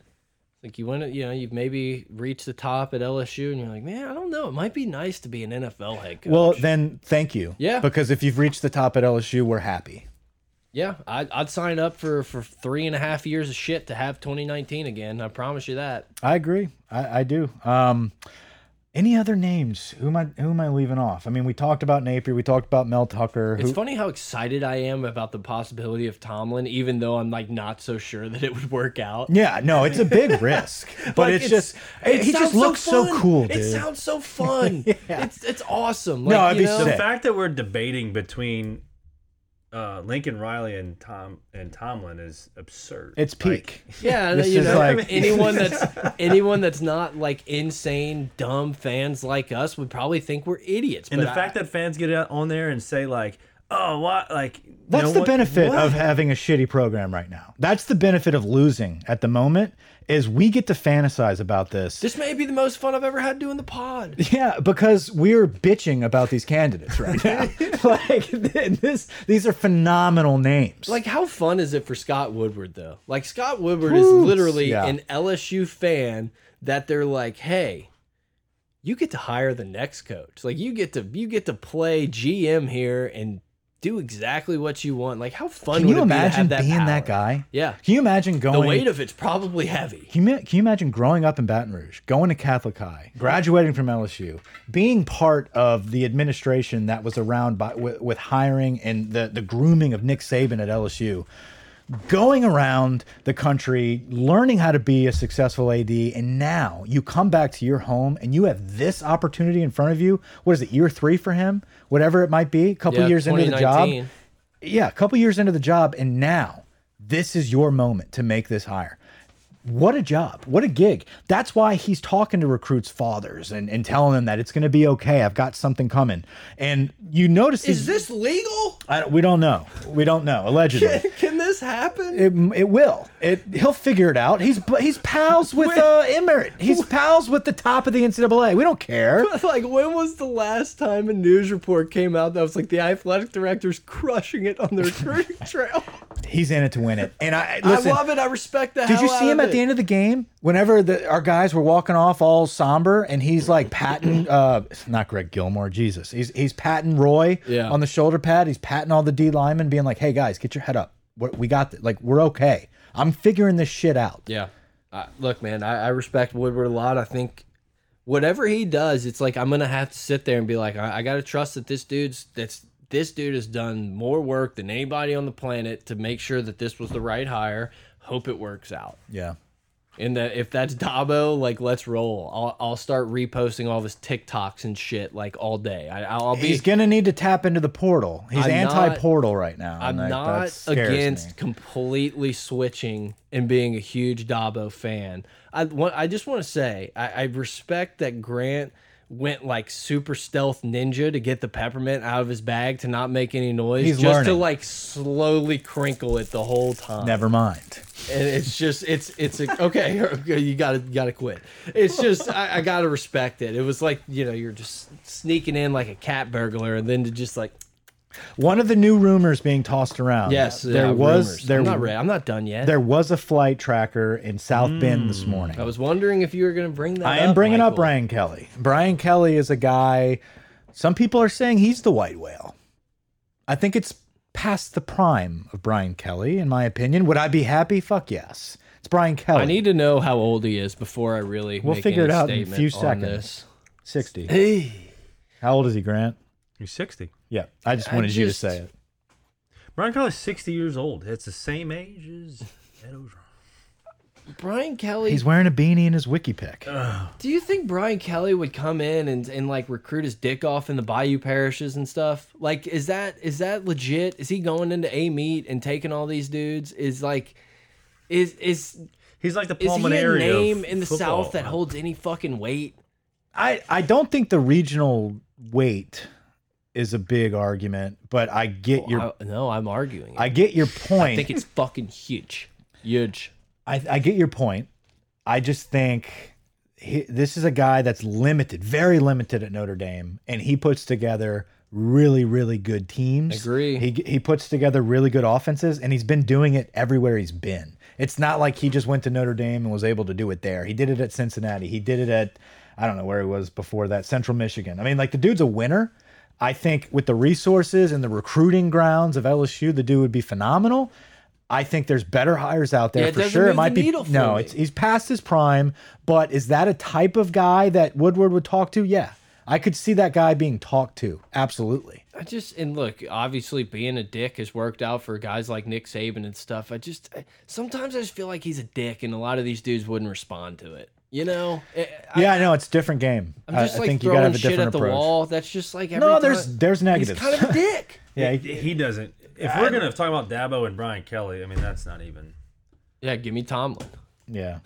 A: like you went, you know, you've maybe reached the top at LSU, and you're like, man, I don't know. It might be nice to be an NFL head coach.
B: Well, then thank you.
A: Yeah.
B: Because if you've reached the top at LSU, we're happy.
A: yeah, I'd, I'd sign up for for three and a half years of shit to have 2019 again. I promise you that.
B: I agree. I, I do. Um, any other names? Who am I? Who am I leaving off? I mean, we talked about Napier. We talked about Mel Tucker.
A: It's
B: Who,
A: funny how excited I am about the possibility of Tomlin, even though I'm like not so sure that it would work out.
B: yeah, no, it's a big risk, but
A: Like,
B: it's, just he
A: sounds
B: just looks so,
A: fun.
B: cool, dude.
A: It sounds so fun. It's it's awesome.
B: No,
A: Like,
B: it'd
A: you
B: be
A: know,
B: sick.
D: the fact that we're debating between uh, Lincoln Riley and Tom and Tomlin is absurd.
B: It's peak.
A: Yeah,
B: This
A: you
B: is
A: know,
B: like-
A: anyone that's anyone that's not like insane, dumb fans like us would probably think we're idiots.
D: and
A: but
D: the
A: I-
D: fact that fans get out on there and say like, "Oh, what?" Like
B: That's
D: no
B: the
D: one-
B: benefit
D: what?
B: of having a shitty program right now. That's the benefit of losing at the moment is we get to fantasize about this.
A: this may be the most fun I've ever had doing the pod.
B: yeah, because we're bitching about these candidates right now. like th- this, these are phenomenal names.
A: Like, how fun is it for Scott Woodward though? Like, Scott Woodward is
B: Woo!
A: literally
B: Yeah.
A: an LSU fan that they're like, hey, you get to hire the next coach. Like, you get to you get to play GM here and do exactly what you want. Like, how fun
B: can
A: would
B: you
A: it
B: imagine
A: be to have that
B: being that
A: power?
B: guy?
A: Yeah,
B: Can you imagine going?
A: the weight of it's probably heavy.
B: Can you, can you imagine growing up in Baton Rouge, going to Catholic High, graduating from LSU, being part of the administration that was around by, with, with hiring and the, the grooming of Nick Saban at LSU, going around the country, learning how to be a successful AD, and now you come back to your home and you have this opportunity in front of you. What is it, year three for him? Whatever it might be, a couple
A: Yeah,
B: years into the job
A: 2019.
B: yeah, a couple years into the job, and now this is your moment to make this hire. What a job. What a gig. That's why he's talking to recruits' fathers and, and telling them that it's going to be okay. I've got something coming. And you notice
A: Is
B: these-
A: this legal?
B: I don't- we don't know. We don't know. Allegedly.
A: Can this happen?
B: It, it will. It he'll figure it out. He's he's pals with uh, Emmert. He's pals with the top of the NCAA. We don't care.
A: like, when was the last time a news report came out that was like the athletic director's crushing it on the recruiting trail?
B: He's in it to win it. And I listen,
A: I love it. I respect that.
B: Did you see him at the end of the game? Whenever the, our guys were walking off all somber, and he's like patting, uh, not Greg Gilmore, Jesus, he's he's patting Roy
A: Yeah.
B: on the shoulder pad. He's patting all the D linemen, being like, "Hey guys, get your head up. We're, we got this. Like we're okay. I'm figuring this shit out."
A: Yeah. I look, man, I, I respect Woodward a lot. I think whatever he does, it's like I'm gonna have to sit there and be like, I, I gotta trust that this dude's that's this dude has done more work than anybody on the planet to make sure that this was the right hire. Hope it works out.
B: Yeah.
A: And that if that's Dabo, like let's roll. I'll, I'll start reposting all of his TikToks and shit like all day. I, I'll I'll be.
B: He's gonna need to tap into the portal. He's
A: I'm not-
B: anti-portal right now.
A: I'm
B: and that- that
A: not
B: scares me.
A: against completely switching and being a huge Dabo fan. I want. I just want to say I, I respect that Grant went like super stealth ninja to get the peppermint out of his bag to not make any noise,
B: He's
A: just to
B: learning.
A: like slowly crinkle it the whole time.
B: Never mind.
A: and it's just it's it's a, okay. okay, You gotta you gotta quit. It's just I, I gotta respect it. It was like you know you're just sneaking in like a cat burglar, and then to just like
B: One of the new rumors being tossed around.
A: yes,
B: there
A: yeah,
B: was
A: rumors.
B: there
A: I'm not ready. I'm not done yet.
B: there was a flight tracker in South Bend this morning.
A: I was wondering if you were gonna bring that.
B: I am bringing up
A: Michael.
B: Brian Kelly. Brian Kelly is a guy. Some people are saying he's the white whale. I think it's past the prime of Brian Kelly, in my opinion. Would I be happy? Fuck yes. It's Brian Kelly.
A: I need to know how old he is before I really.
B: We'll
A: make
B: figure
A: any
B: it out in a
A: statement
B: few
A: on
B: seconds.
A: this.
B: sixty. How old is he, Grant?
D: You're 60.
B: Yeah, I just
A: I
B: wanted you to
A: just-
B: say it.
D: Brian Kelly's 60 years old. It's the same age as Ed Ogeron.
A: Brian Kelly.
B: He's wearing a beanie in his wiki pick.
A: do you think Brian Kelly would come in and, and like recruit his dick off in the Bayou parishes and stuff? Like, is that is that legit? Is he going into a meet and taking all these dudes? Is like, is is
D: He's like the
A: is he a
D: pulmonary
A: name
D: of
A: in the
D: football.
A: South that holds any fucking weight?
B: I, I don't think the regional weight is a big argument, but I get your
A: I- no, I'm arguing. It.
B: I get your point.
A: I think it's fucking huge, huge.
B: I, I get your point. I just think he, this is a guy that's limited, very limited at Notre Dame, and he puts together really, really good teams.
A: Agree.
B: He he puts together really good offenses, and he's been doing it everywhere he's been. It's not like he just went to Notre Dame and was able to do it there. He did it at Cincinnati. He did it at I don't know where he was before that, Central Michigan. I mean, like the dude's a winner. I think with the resources and the recruiting grounds of LSU, the dude would be phenomenal. I think there's better hires out there
A: Yeah, it
B: for
A: doesn't
B: sure.
A: move
B: It might
A: the
B: be
A: needle for
B: no.
A: me.
B: It's he's past his prime, but is that a type of guy that Woodward would talk to? Yeah, I could see that guy being talked to. Absolutely.
A: I just and look, obviously being a dick has worked out for guys like Nick Saban and stuff. I just I- sometimes I just feel like he's a dick, and a lot of these dudes wouldn't respond to it. You know? I- I,
B: yeah, I know it's a different game.
A: I'm
B: I-
A: just
B: I,
A: like
B: think you
A: throwing
B: gotta have a
A: shit
B: different
A: at the
B: approach.
A: wall. That's just like every
B: No, there's
A: time-
B: there's
A: he's
B: negatives.
A: kind of a dick.
B: yeah, he-
D: He doesn't. If we're going to talk about Dabo and Brian Kelly, I mean, that's not even.
A: yeah, give me Tomlin.
B: yeah.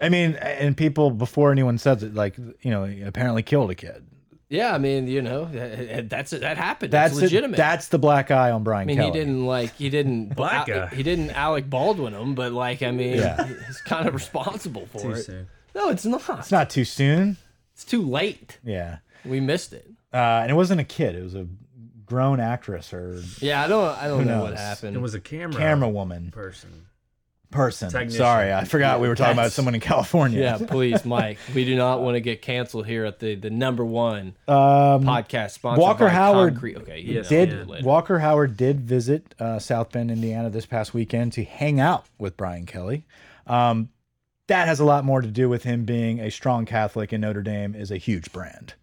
B: I mean, and people before anyone says it, like you know, he apparently killed a kid.
A: Yeah, I mean, you know, that- that's that happened. That's,
B: That's it-
A: legitimate.
B: that's the black eye on
A: I
B: Brian
A: mean,
B: Kelly.
A: he didn't like he didn't
D: Black
A: Al-
D: guy.
A: he didn't Alec Baldwin him, but like I mean,
B: Yeah.
A: he's kind of responsible for it.
D: soon.
A: No, it's not.
B: It's not too soon.
A: It's too late.
B: Yeah,
A: We missed it.
B: uh, and it wasn't a kid. It was a grown actress or
A: Yeah, I don't. I don't know what
B: knows?
A: happened.
D: It was a camera.
B: camera woman.
D: Person.
B: person.
D: Technician.
B: Sorry, I forgot we were talking about
A: That's-
B: someone in California.
A: yeah, please, Mike. We do not want to get canceled here at the the number one
B: Um,
A: podcast sponsor.
B: Walker
A: by
B: Howard
A: Concrete. Okay, you know,
B: did
A: yeah. later.
B: Walker Howard did visit uh, South Bend, Indiana this past weekend to hang out with Brian Kelly. Um, that has a lot more to do with him being a strong Catholic, and Notre Dame is a huge brand.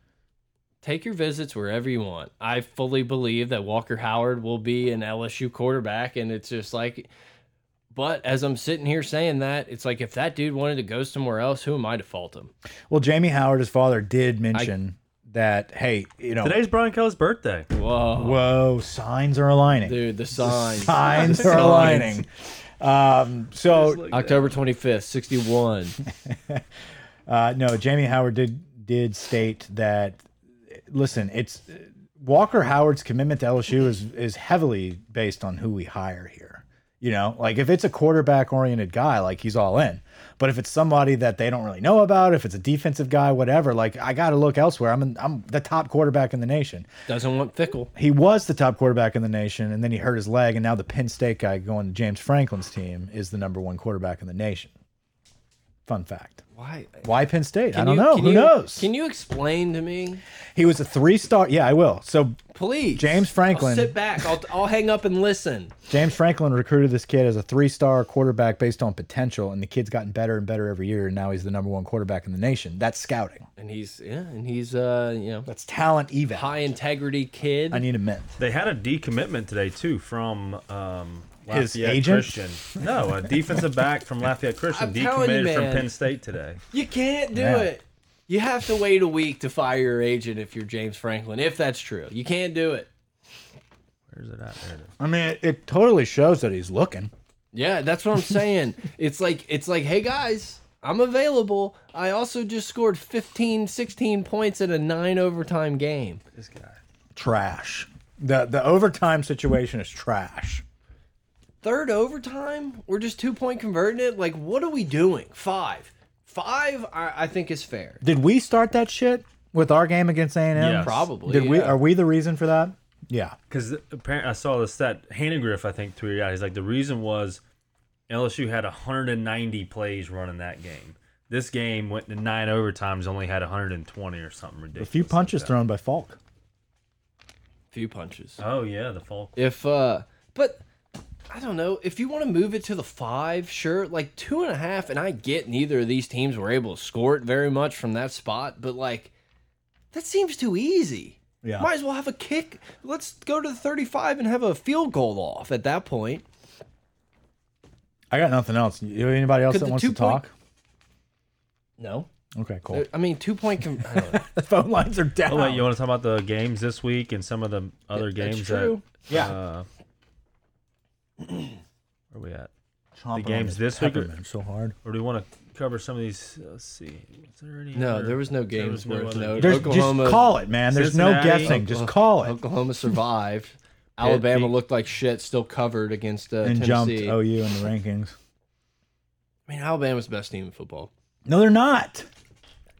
A: take your visits wherever you want. I fully believe that Walker Howard will be an LSU quarterback, and it's just like. But as I'm sitting here saying that, it's like if that dude wanted to go somewhere else, who am I to fault him?
B: Well, Jamie Howard, his father, did mention that. Hey, you know,
D: Today's Brian Kelly's birthday.
A: Whoa,
B: whoa, signs are aligning.
A: dude, the signs.
B: Signs are aligning. Um, so
A: October 25th, 61.
B: Uh, no, Jamie Howard did did state that. Listen, it's Walker Howard's commitment to LSU is is heavily based on who we hire here. You know, like if it's a quarterback oriented guy, like he's all in. But if it's somebody that they don't really know about, if it's a defensive guy, whatever, like I got to look elsewhere. I'm in, I'm the top quarterback in the nation.
A: Doesn't want fickle.
B: He was the top quarterback in the nation, and then he hurt his leg, and now the Penn State guy going to James Franklin's team is the number one quarterback in the nation. Fun fact.
A: Why?
B: Why Penn State? I
A: Can
B: don't
A: you-
B: know.
A: can
B: Who
A: you-
B: knows?
A: Can you explain to me,
B: He was a three star. Yeah, I will. So
A: please?
B: James
A: I'll
B: Franklin.
A: sit back. I'll, I'll hang up and listen.
B: James Franklin recruited this kid as a three star quarterback based on potential, and the kid's gotten better and better every year, and now he's the number one quarterback in the nation. That's scouting.
A: And he's yeah, and he's uh, you know,
B: That's talent even.
A: high integrity kid.
B: I need a mint.
D: They had a decommitment today, too, from. Um,
B: His
D: Lafayette
B: agent?
D: Christian. No, a defensive back from Lafayette Christian
A: I'm telling you,
D: decommitted from
A: man.
D: Penn State today.
A: you can't do
B: Yeah.
A: it. You have to wait a week to fire your agent if you're James Franklin, if that's true. You can't do it.
D: Where's it at? There it is.
B: I mean, it, it totally shows that he's looking.
A: Yeah, that's what I'm saying. it's like it's like, hey guys, I'm available. I also just scored 15, 16 points in a nine overtime game.
D: This guy.
B: Trash. The the overtime situation is trash.
A: Third overtime? We're just two point converting it? Like, what are we doing? Five. Five, I, I think is fair.
B: Did we start that shit with our game against A and M?
D: Yes.
A: Probably.
B: Did we?
A: yeah.
B: Are we the reason for that? Yeah.
D: Because apparently, I saw this stat. Hannah Griff, I think, tweeted out. He's like, the reason was LSU had 190 plays running that game. This game went to nine overtimes, only had 120 or something
B: A
D: ridiculous.
B: few
D: like
B: punches
D: that.
B: thrown by Falk.
A: Few punches.
D: Oh yeah, the Falk.
A: If uh but I don't know, if you want to move it to the five, sure, like two and a half, and I get neither of these teams were able to score it very much from that spot, but like that seems too easy.
B: Yeah.
A: Might as well have a kick. Let's go to the 35 and have a field goal off at that point.
B: I got nothing else. You- Anybody else
A: Could
B: that
A: the
B: wants to
A: two-point-
B: talk?
A: No.
B: Okay, cool.
A: I mean, two point. Con I don't know.
B: The phone lines are down.
D: Oh wait, you want to talk about the games this week and some of the other
A: That's
D: games?
A: true.
D: That,
B: Yeah.
D: Uh, where we at?
B: Chomping on
D: games this week are-
B: peppermint so hard.
D: Or do we want to cover some of these? uh, Let's see. Is there any
A: No,
D: other-
A: there was no
D: there
A: games
D: was
A: worth
D: other-
A: noting.
B: There's,
A: Oklahoma-
B: just call it, man. There's no
D: Cincinnati.
B: guessing. Just call it
A: Oklahoma survived. Alabama
D: Pete.
A: looked like shit, still covered against uh,
B: and jumped Oh,
A: Tennessee.
B: OU in the rankings.
A: I mean, Alabama's the best team in football.
B: No, they're not.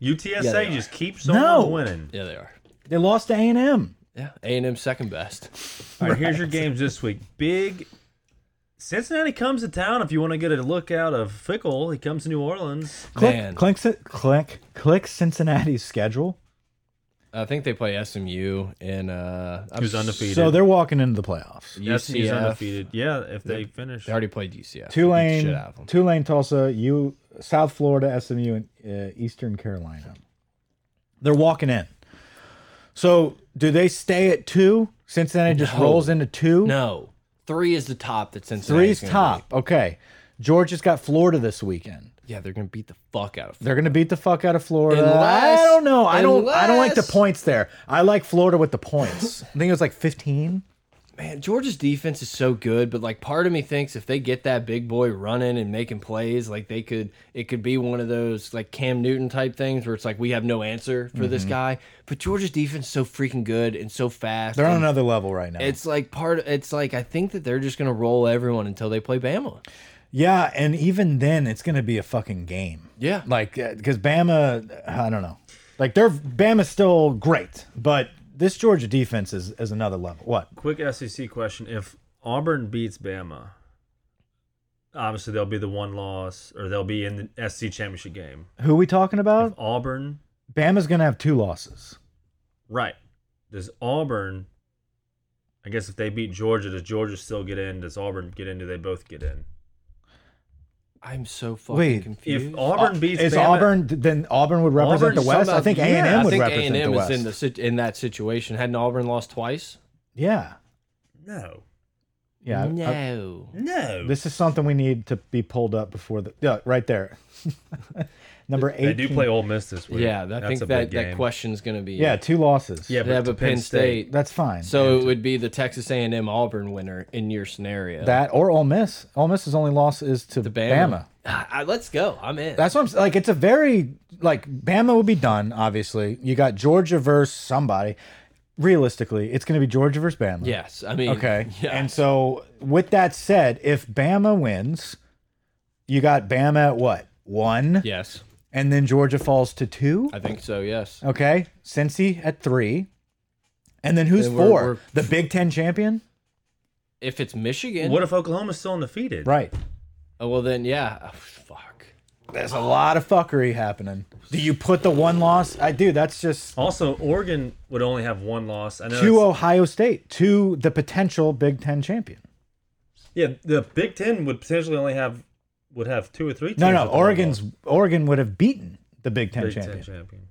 D: UTSA
A: Yeah, they are.
D: just keeps on winning.
A: Yeah, they are.
B: They lost to A and M.
A: Yeah, A and M second best.
D: All right, here's your games this week. Big Cincinnati comes to town. If you want to get a look out of Fickle, he comes to New Orleans.
A: Man.
B: Click, click, Cin- click, click. Cincinnati's schedule.
A: I think they play SMU and uh, I'm
D: Who's undefeated?
B: So they're walking into the playoffs.
D: Yes, he's
A: UCF.
D: undefeted. Yeah, if they finish.
A: They already played UCF. They beat the shit
B: Tulane,
A: out of 'em.
B: Tulane, Tulsa, you, South Florida, SMU, and uh, Eastern Carolina. They're walking in. So do they stay at two? Cincinnati just
A: No.
B: rolls into two.
A: No, three is the top. That's Cincinnati's gonna
B: Three's top. Okay. Georgia's got Florida this weekend.
A: beat. Yeah, they're gonna beat the fuck out of.
B: They're gonna beat the fuck out of Florida.
A: Unless-
B: I don't know. I don't. I don't like the
A: unless-
B: points there. I like Florida with the points. I think it was like 15.
A: Man, Georgia's defense is so good, but like part of me thinks if they get that big boy running and making plays, like they could, it could be one of those like Cam Newton type things where it's like we have no answer for
B: Mm-hmm.
A: this guy. But Georgia's defense is so freaking good and so fast.
B: They're on
A: and
B: another level right now.
A: Um, It's like part. It's like I think that they're just gonna roll everyone until they play Bama.
B: yeah, and even then, it's gonna be a fucking game.
A: Yeah.
B: Like, because Bama, I don't know. Like they're Bama's still great, but this Georgia defense is is another level. What?
D: Quick SEC question: If Auburn beats Bama, obviously they'll be the one loss, or they'll be in the SC championship game.
B: Who we talking
D: If
B: about?
D: Auburn,
B: Bama's gonna have two losses.
D: right? Does Auburn? I guess if they beat Georgia, does Georgia still get in? Does Auburn get in? Do they both get in?
A: I'm so fucking
B: Wait, if
A: confused.
D: If
A: Uh,
D: Auburn beats
B: Is
D: Bama,
B: Auburn then Auburn would represent
D: Auburn's
B: the West? I
D: somehow-
B: think A
D: yeah,
B: and
A: I
B: M would
A: think
B: represent
A: A&M
B: the West.
A: is in the sit- in that situation. Hadn't Auburn lost twice?
B: yeah,
D: no,
B: yeah. uh, I- I-
A: no.
D: no,
B: This is something we need to be pulled up before the yeah, right there. Number eight.
D: they do play Ole Miss this week.
A: yeah, I
D: That's
A: think
D: a
A: that
D: big
A: that
D: game.
A: question's gonna be
B: Yeah, two losses.
D: Yeah,
A: They have a
D: to
A: Penn, State.
B: that's fine.
A: So it would be the Texas A&M Auburn winner in your scenario.
B: that or Ole Miss. Ole Miss's only loss is to
A: The
B: Bama.
A: Bama. Ah, ah, let's go. I'm in.
B: That's what I'm s- like. It's a very like Bama would be done. Obviously, you got Georgia versus somebody. Realistically, it's going to be Georgia versus Bama.
A: yes. I mean.
B: Okay.
A: Yeah.
B: And so, with that said, if Bama wins, you got Bama at what one,
A: yes.
B: and then Georgia falls to two.
A: I think so. Yes.
B: Okay, Cincy at three, and then who's
A: Then we're-
B: 4
A: we're-
B: the Big Ten champion,
A: If it's Michigan.
D: What if Oklahoma's still undefeated?
B: right?
A: oh, well then, yeah. Oh, fuck.
B: There's a lot of fuckery happening. Do you put the one loss? I do. That's just
D: Also, Oregon would only have one loss. I know.
B: to
D: it's-
B: Ohio State, to the potential Big Ten champion.
D: Yeah, the Big Ten would potentially only have would have two or three. Teams
B: No, no,
D: with one
B: Oregon's
D: loss.
B: Oregon would have beaten the Big Ten
D: Big
B: champion.
D: Ten champion.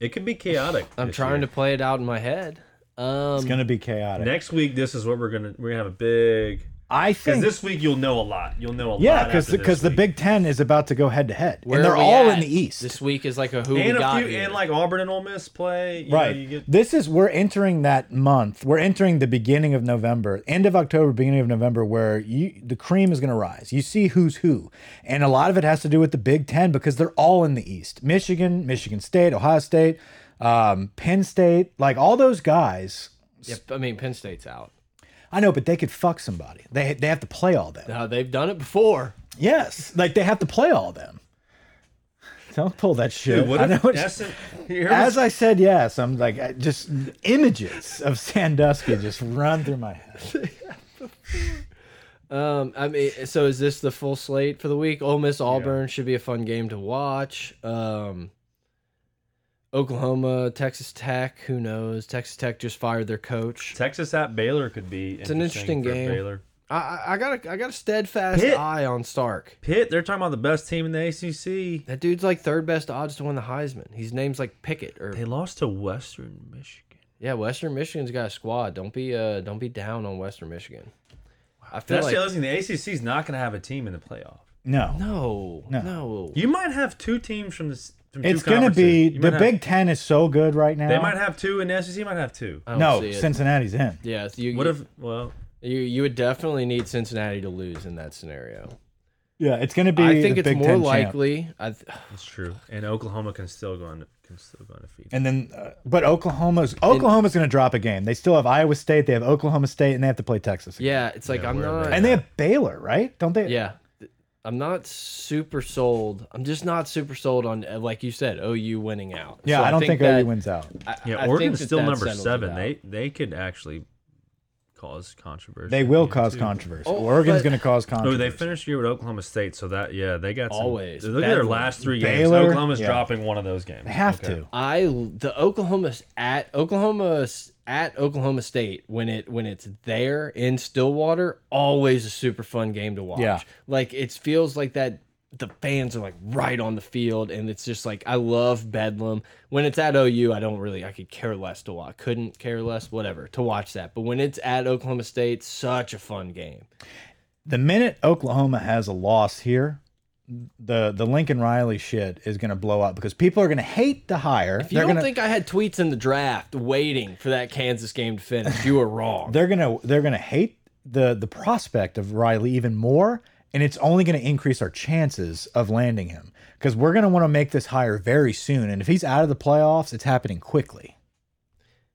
D: It could be chaotic.
A: I'm
D: this
A: trying
D: year.
A: to play it out in my head. Um.
B: It's gonna be chaotic.
D: Next week, this is what we're gonna we're gonna have a big.
B: I
D: Because
B: think
D: this week you'll know a lot. You'll know a
B: yeah,
D: lot.
B: because
D: after this
B: because the
D: week.
B: Big Ten is about to go head to head,
A: Where
B: and they're
A: are we
B: all
A: at?
B: in the East.
A: This week is like a who we
D: and
A: got
D: a few
A: here.
D: and like Auburn and Ole Miss play. you know,
B: Right.
D: you get
B: This is we're entering that month. We're entering the beginning of November, end of October, beginning of November, where you the cream is going to rise. You see who's who, and a lot of it has to do with the Big Ten because they're all in the East: Michigan, Michigan State, Ohio State, um, Penn State. Like all those guys,
A: Yeah, I mean, Penn State's out.
B: I know, but they could fuck somebody. They they have to play all them.
A: Uh, they've done it before.
B: Yes, like they have to play all them. Don't pull that shit.
D: Dude, what
B: I know
D: if
B: it's-
D: Essen- here
B: As
D: was-
B: I said yes, I'm like I- just images of Sandusky just run through my head.
A: Um, I mean, so is this the full slate for the week? Ole Miss Auburn should be a fun game to watch. Um, Oklahoma, Texas Tech, who knows? Texas Tech just fired their coach.
D: Texas at Baylor could be.
A: an interesting
D: for
A: game.
D: Baylor.
A: I- I, I got a, I got a steadfast
D: Pitt.
A: eye on Stark.
D: Pitt, they're talking about the best team in the ACC.
A: That dude's like third best odds to win the Heisman. His name's like Pickett or
D: They lost to Western Michigan.
A: yeah. Western Michigan's got a squad. Don't be uh don't be down on Western Michigan. I feel
D: That's
A: like
D: the other thing. The ACC is not going to have a team in the playoff.
B: No,
A: no no.
B: No.
D: You might have two teams from this. From
B: it's
D: two
B: going to be
D: conferences.
B: the
D: You might have-
B: Big Ten is so good right now.
D: They might have two, and the SEC might have two.
A: I don't
B: no,
A: see it.
B: Cincinnati's in.
A: yeah. so Uh, you,
D: What if? Well,
A: you you would definitely need Cincinnati to lose in that scenario?
B: Yeah, it's going to be.
A: I think
B: the
A: it's
B: Big
A: more
B: Ten champ.
A: likely. I th
D: that's true. And Oklahoma can still go on. Can still go undefeated.
B: And then, uh, but Oklahoma's Oklahoma's going to drop a game. They still have Iowa State. They have Oklahoma State, and they have to play Texas. again.
A: yeah, it's like
D: Yeah,
A: I'm
D: where are
A: not.
D: they?
B: and they have Baylor, right? Don't they?
A: yeah, th- I'm not super sold. I'm just not super sold on uh, like you said, OU winning out.
B: Yeah,
A: So
B: I don't think, OU
A: that-
B: wins out.
A: I-
D: Yeah,
A: I think
D: Oregon's
A: that
D: still
A: that
D: number
A: settles it
D: seven.
A: out.
D: They they could actually cause controversy.
B: They will
D: Yeah,
B: cause
D: too.
B: controversy.
A: Oh,
B: Oregon's
A: but-
B: going to cause
D: Oh,
B: controversy.
D: they finished the year with Oklahoma State, so that yeah, they got some,
A: Always.
D: Look at their
A: Bedlam.
D: last three
B: Baylor,
D: games. Oklahoma's
B: yeah.
D: dropping one of those games.
B: They have
D: Okay.
B: to.
A: I the Oklahoma's at Oklahoma's at Oklahoma State when it when it's there in Stillwater always a super fun game to watch.
B: Yeah.
A: Like it feels like that the fans are like right on the field and it's just like I love Bedlam. When it's at OU, I don't really I could care less to watch. Couldn't care less whatever to watch that. But when it's at Oklahoma State, such a fun game.
B: the minute Oklahoma has a loss here, the the Lincoln Riley shit is going to blow up because people are going to hate the hire.
A: If you
B: They're
A: don't
B: going to
A: think I had tweets in the draft waiting for that Kansas game to finish, you were wrong.
B: they're going to they're going to hate the the prospect of Riley even more, and it's only going to increase our chances of landing him because we're going to want to make this hire very soon. And if he's out of the playoffs, it's happening quickly.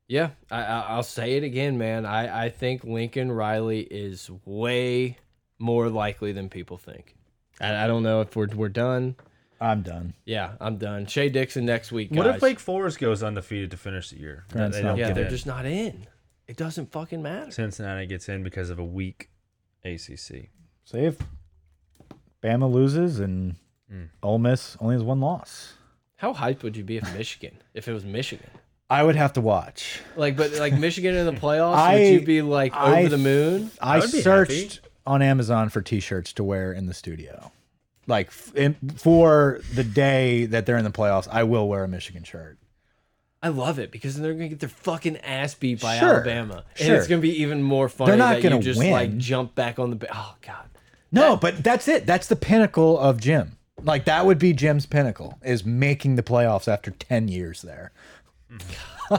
A: Yeah, I, I, I'll say it again, man. I, I think Lincoln Riley is way more likely than people think. I, I don't know if we're, we're done.
B: I'm done.
A: Yeah, I'm done. Shea Dixon next week. Guys.
D: What if Wake Forest goes undefeated to finish the year?
B: Grand
D: they
B: slam.
D: don't
A: Yeah,
D: get
A: they're
D: in.
A: just not in. It doesn't fucking matter.
D: Cincinnati gets in because of a weak ACC.
B: Say if Bama loses and Ole Miss only has one loss,
A: How hyped would you be if Michigan? if it was Michigan,
B: I would have to watch.
A: like, but like Michigan in the playoffs,
B: I-
A: would you be like over
B: I
A: the moon?
B: I,
D: I would be
B: searched
D: happy.
B: on Amazon for t-shirts to wear in the studio. Like f in, for the day that they're in the playoffs, I will wear a Michigan shirt.
A: I love it because then they're gonna get their fucking ass beat by
B: Sure,
A: Alabama, and
B: sure.
A: it's gonna be even more funny.
B: They're not
A: that
B: gonna
A: you just
B: win.
A: like jump back on the. ba- Oh god.
B: No, but that's it. That's the pinnacle of Jim. Like that would be Jim's pinnacle is making the playoffs after 10 years there.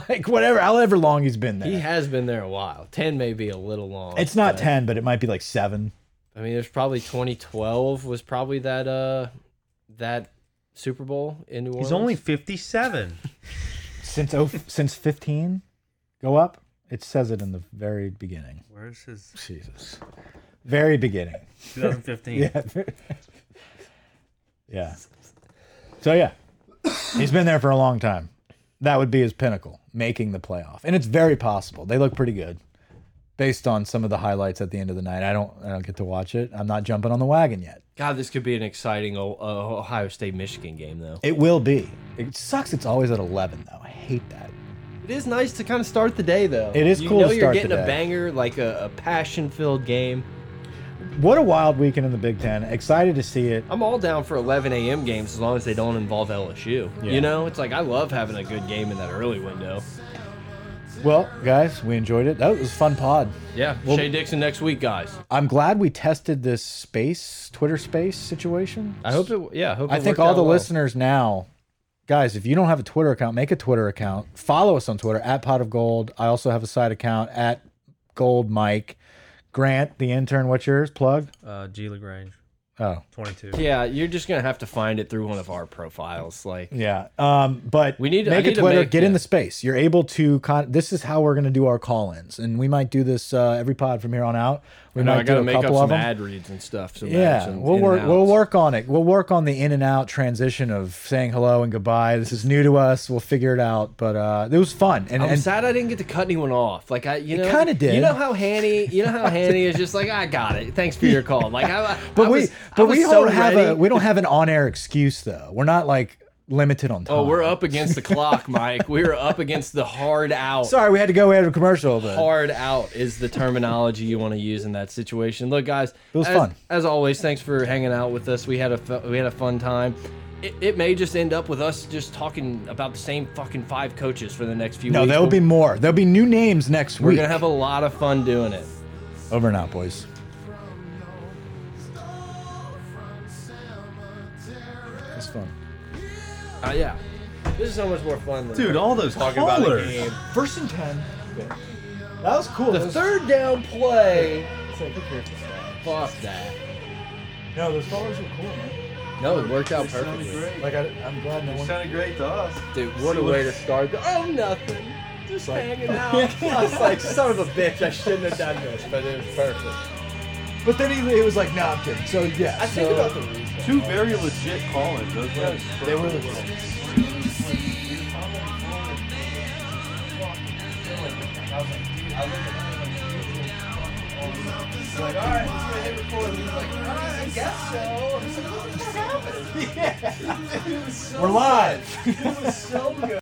B: like whatever, however long he's been there.
A: He has been there a while. Ten may be a little long.
B: it's not
A: but-
B: 10, but it might be like 7.
A: I mean, there's probably 2012 was probably that uh that Super Bowl in New Orleans.
D: He's only fifty-seven.
B: Since oh, since 15 go up. It says it in the very beginning.
D: Where's his
B: Jesus. Very beginning.
D: 2015?
B: Yeah. yeah. So yeah, he's been there for a long time. That would be his pinnacle, making the playoff, and it's very possible. They look pretty good, based on some of the highlights at the end of the night. I don't, I don't get to watch it. I'm not jumping on the wagon yet.
A: God, this could be an exciting O- uh, Ohio State Michigan game though.
B: It will be. It sucks. It's always at 11 though. I hate that.
A: It is nice to kind of start the day though.
B: It is
A: you
B: cool
A: Know
B: to
A: you're
B: start the
A: getting a
B: day.
A: banger like a, a passion-filled game.
B: What a wild weekend in the Big Ten. Excited to see it.
A: I'm all down for 11 a.m. games as long as they don't involve LSU. You know, it's like I love having a good game in that early window.
B: Well, guys, we enjoyed it. That was a fun pod.
A: Yeah, Shay Dixon next week, guys.
B: I'm glad we tested this space, Twitter space situation.
A: I hope it. Yeah, I hope.
B: I
A: it
B: think
A: worked
B: all
A: out
B: the
A: well.
B: listeners now, guys, if you don't have a Twitter account, make a Twitter account. Follow us on Twitter at Pot of Gold. I also have a side account at Gold Mike. Grant, the intern, what's yours? Plug.
D: Uh, G Lagrange,
B: Oh,
D: 22.
A: Yeah, you're just gonna have to find it through one of our profiles. Like,
B: yeah. Um, but
A: We need- I
B: make
A: need
B: a
A: to
B: Twitter.
A: make-
B: get in
A: yeah.
B: the space. You're able to. Con this is how we're going to do our call-ins, and we might do this uh, every pod from here on out. We
A: you know,
B: might
A: I gotta
B: do a
A: make up
B: couple
A: some
B: of them.
A: ad reads and stuff. So
B: Yeah, we'll work. We'll work on it. We'll work on the in and out transition of saying hello and goodbye. This is new to us. We'll figure it out. But uh, it was fun. And,
A: I'm
B: and
A: sad I didn't get to cut anyone off. Like I, you know,
B: kinda did.
A: You know how Hanny, you know how Hanny is just like, I got it. Thanks for your call. Like, I, I-
B: but
A: I
B: we
A: was- I
B: but
A: was
B: we
A: so
B: don't have a
A: ready.
B: we don't have an on air excuse though. We're not like limited on time.
A: Oh, we're up against the clock, Mike. We were up against the hard out.
B: Sorry, we had to go out of commercial. But
A: hard out is the terminology you want to use in that situation. Look, guys,
B: It was
A: as,
B: fun.
A: as always. Thanks for hanging out with us. We had a fu- we had a fun time. It, it may just end up with us just talking about the same fucking five coaches for the next few.
B: no,
A: weeks.
B: there'll be more. There'll be new names next
A: We're
B: week.
A: gonna have a lot of fun doing it.
B: Over and out, boys. It's fun.
A: Uh, yeah, this is so much more fun. Than
D: Dude, all those
A: talking
D: callers.
A: about the game.
B: First and ten. That was cool.
A: The third down play. Fuck that.
B: No, those followers were cool, man.
A: No, it worked out perfectly.
B: Like I, I'm glad no one.
D: sounded great to us.
A: Dude, what a way to start. the- Oh, nothing. Just hanging out. I was like, son of a bitch, I shouldn't have done this, but it was perfect.
B: But then he, he was like, "No, I'm kidding." So yeah,
A: I think about the reason.
D: Two very legit call-ins. Those guys.
B: they were. The We're live.
A: So good.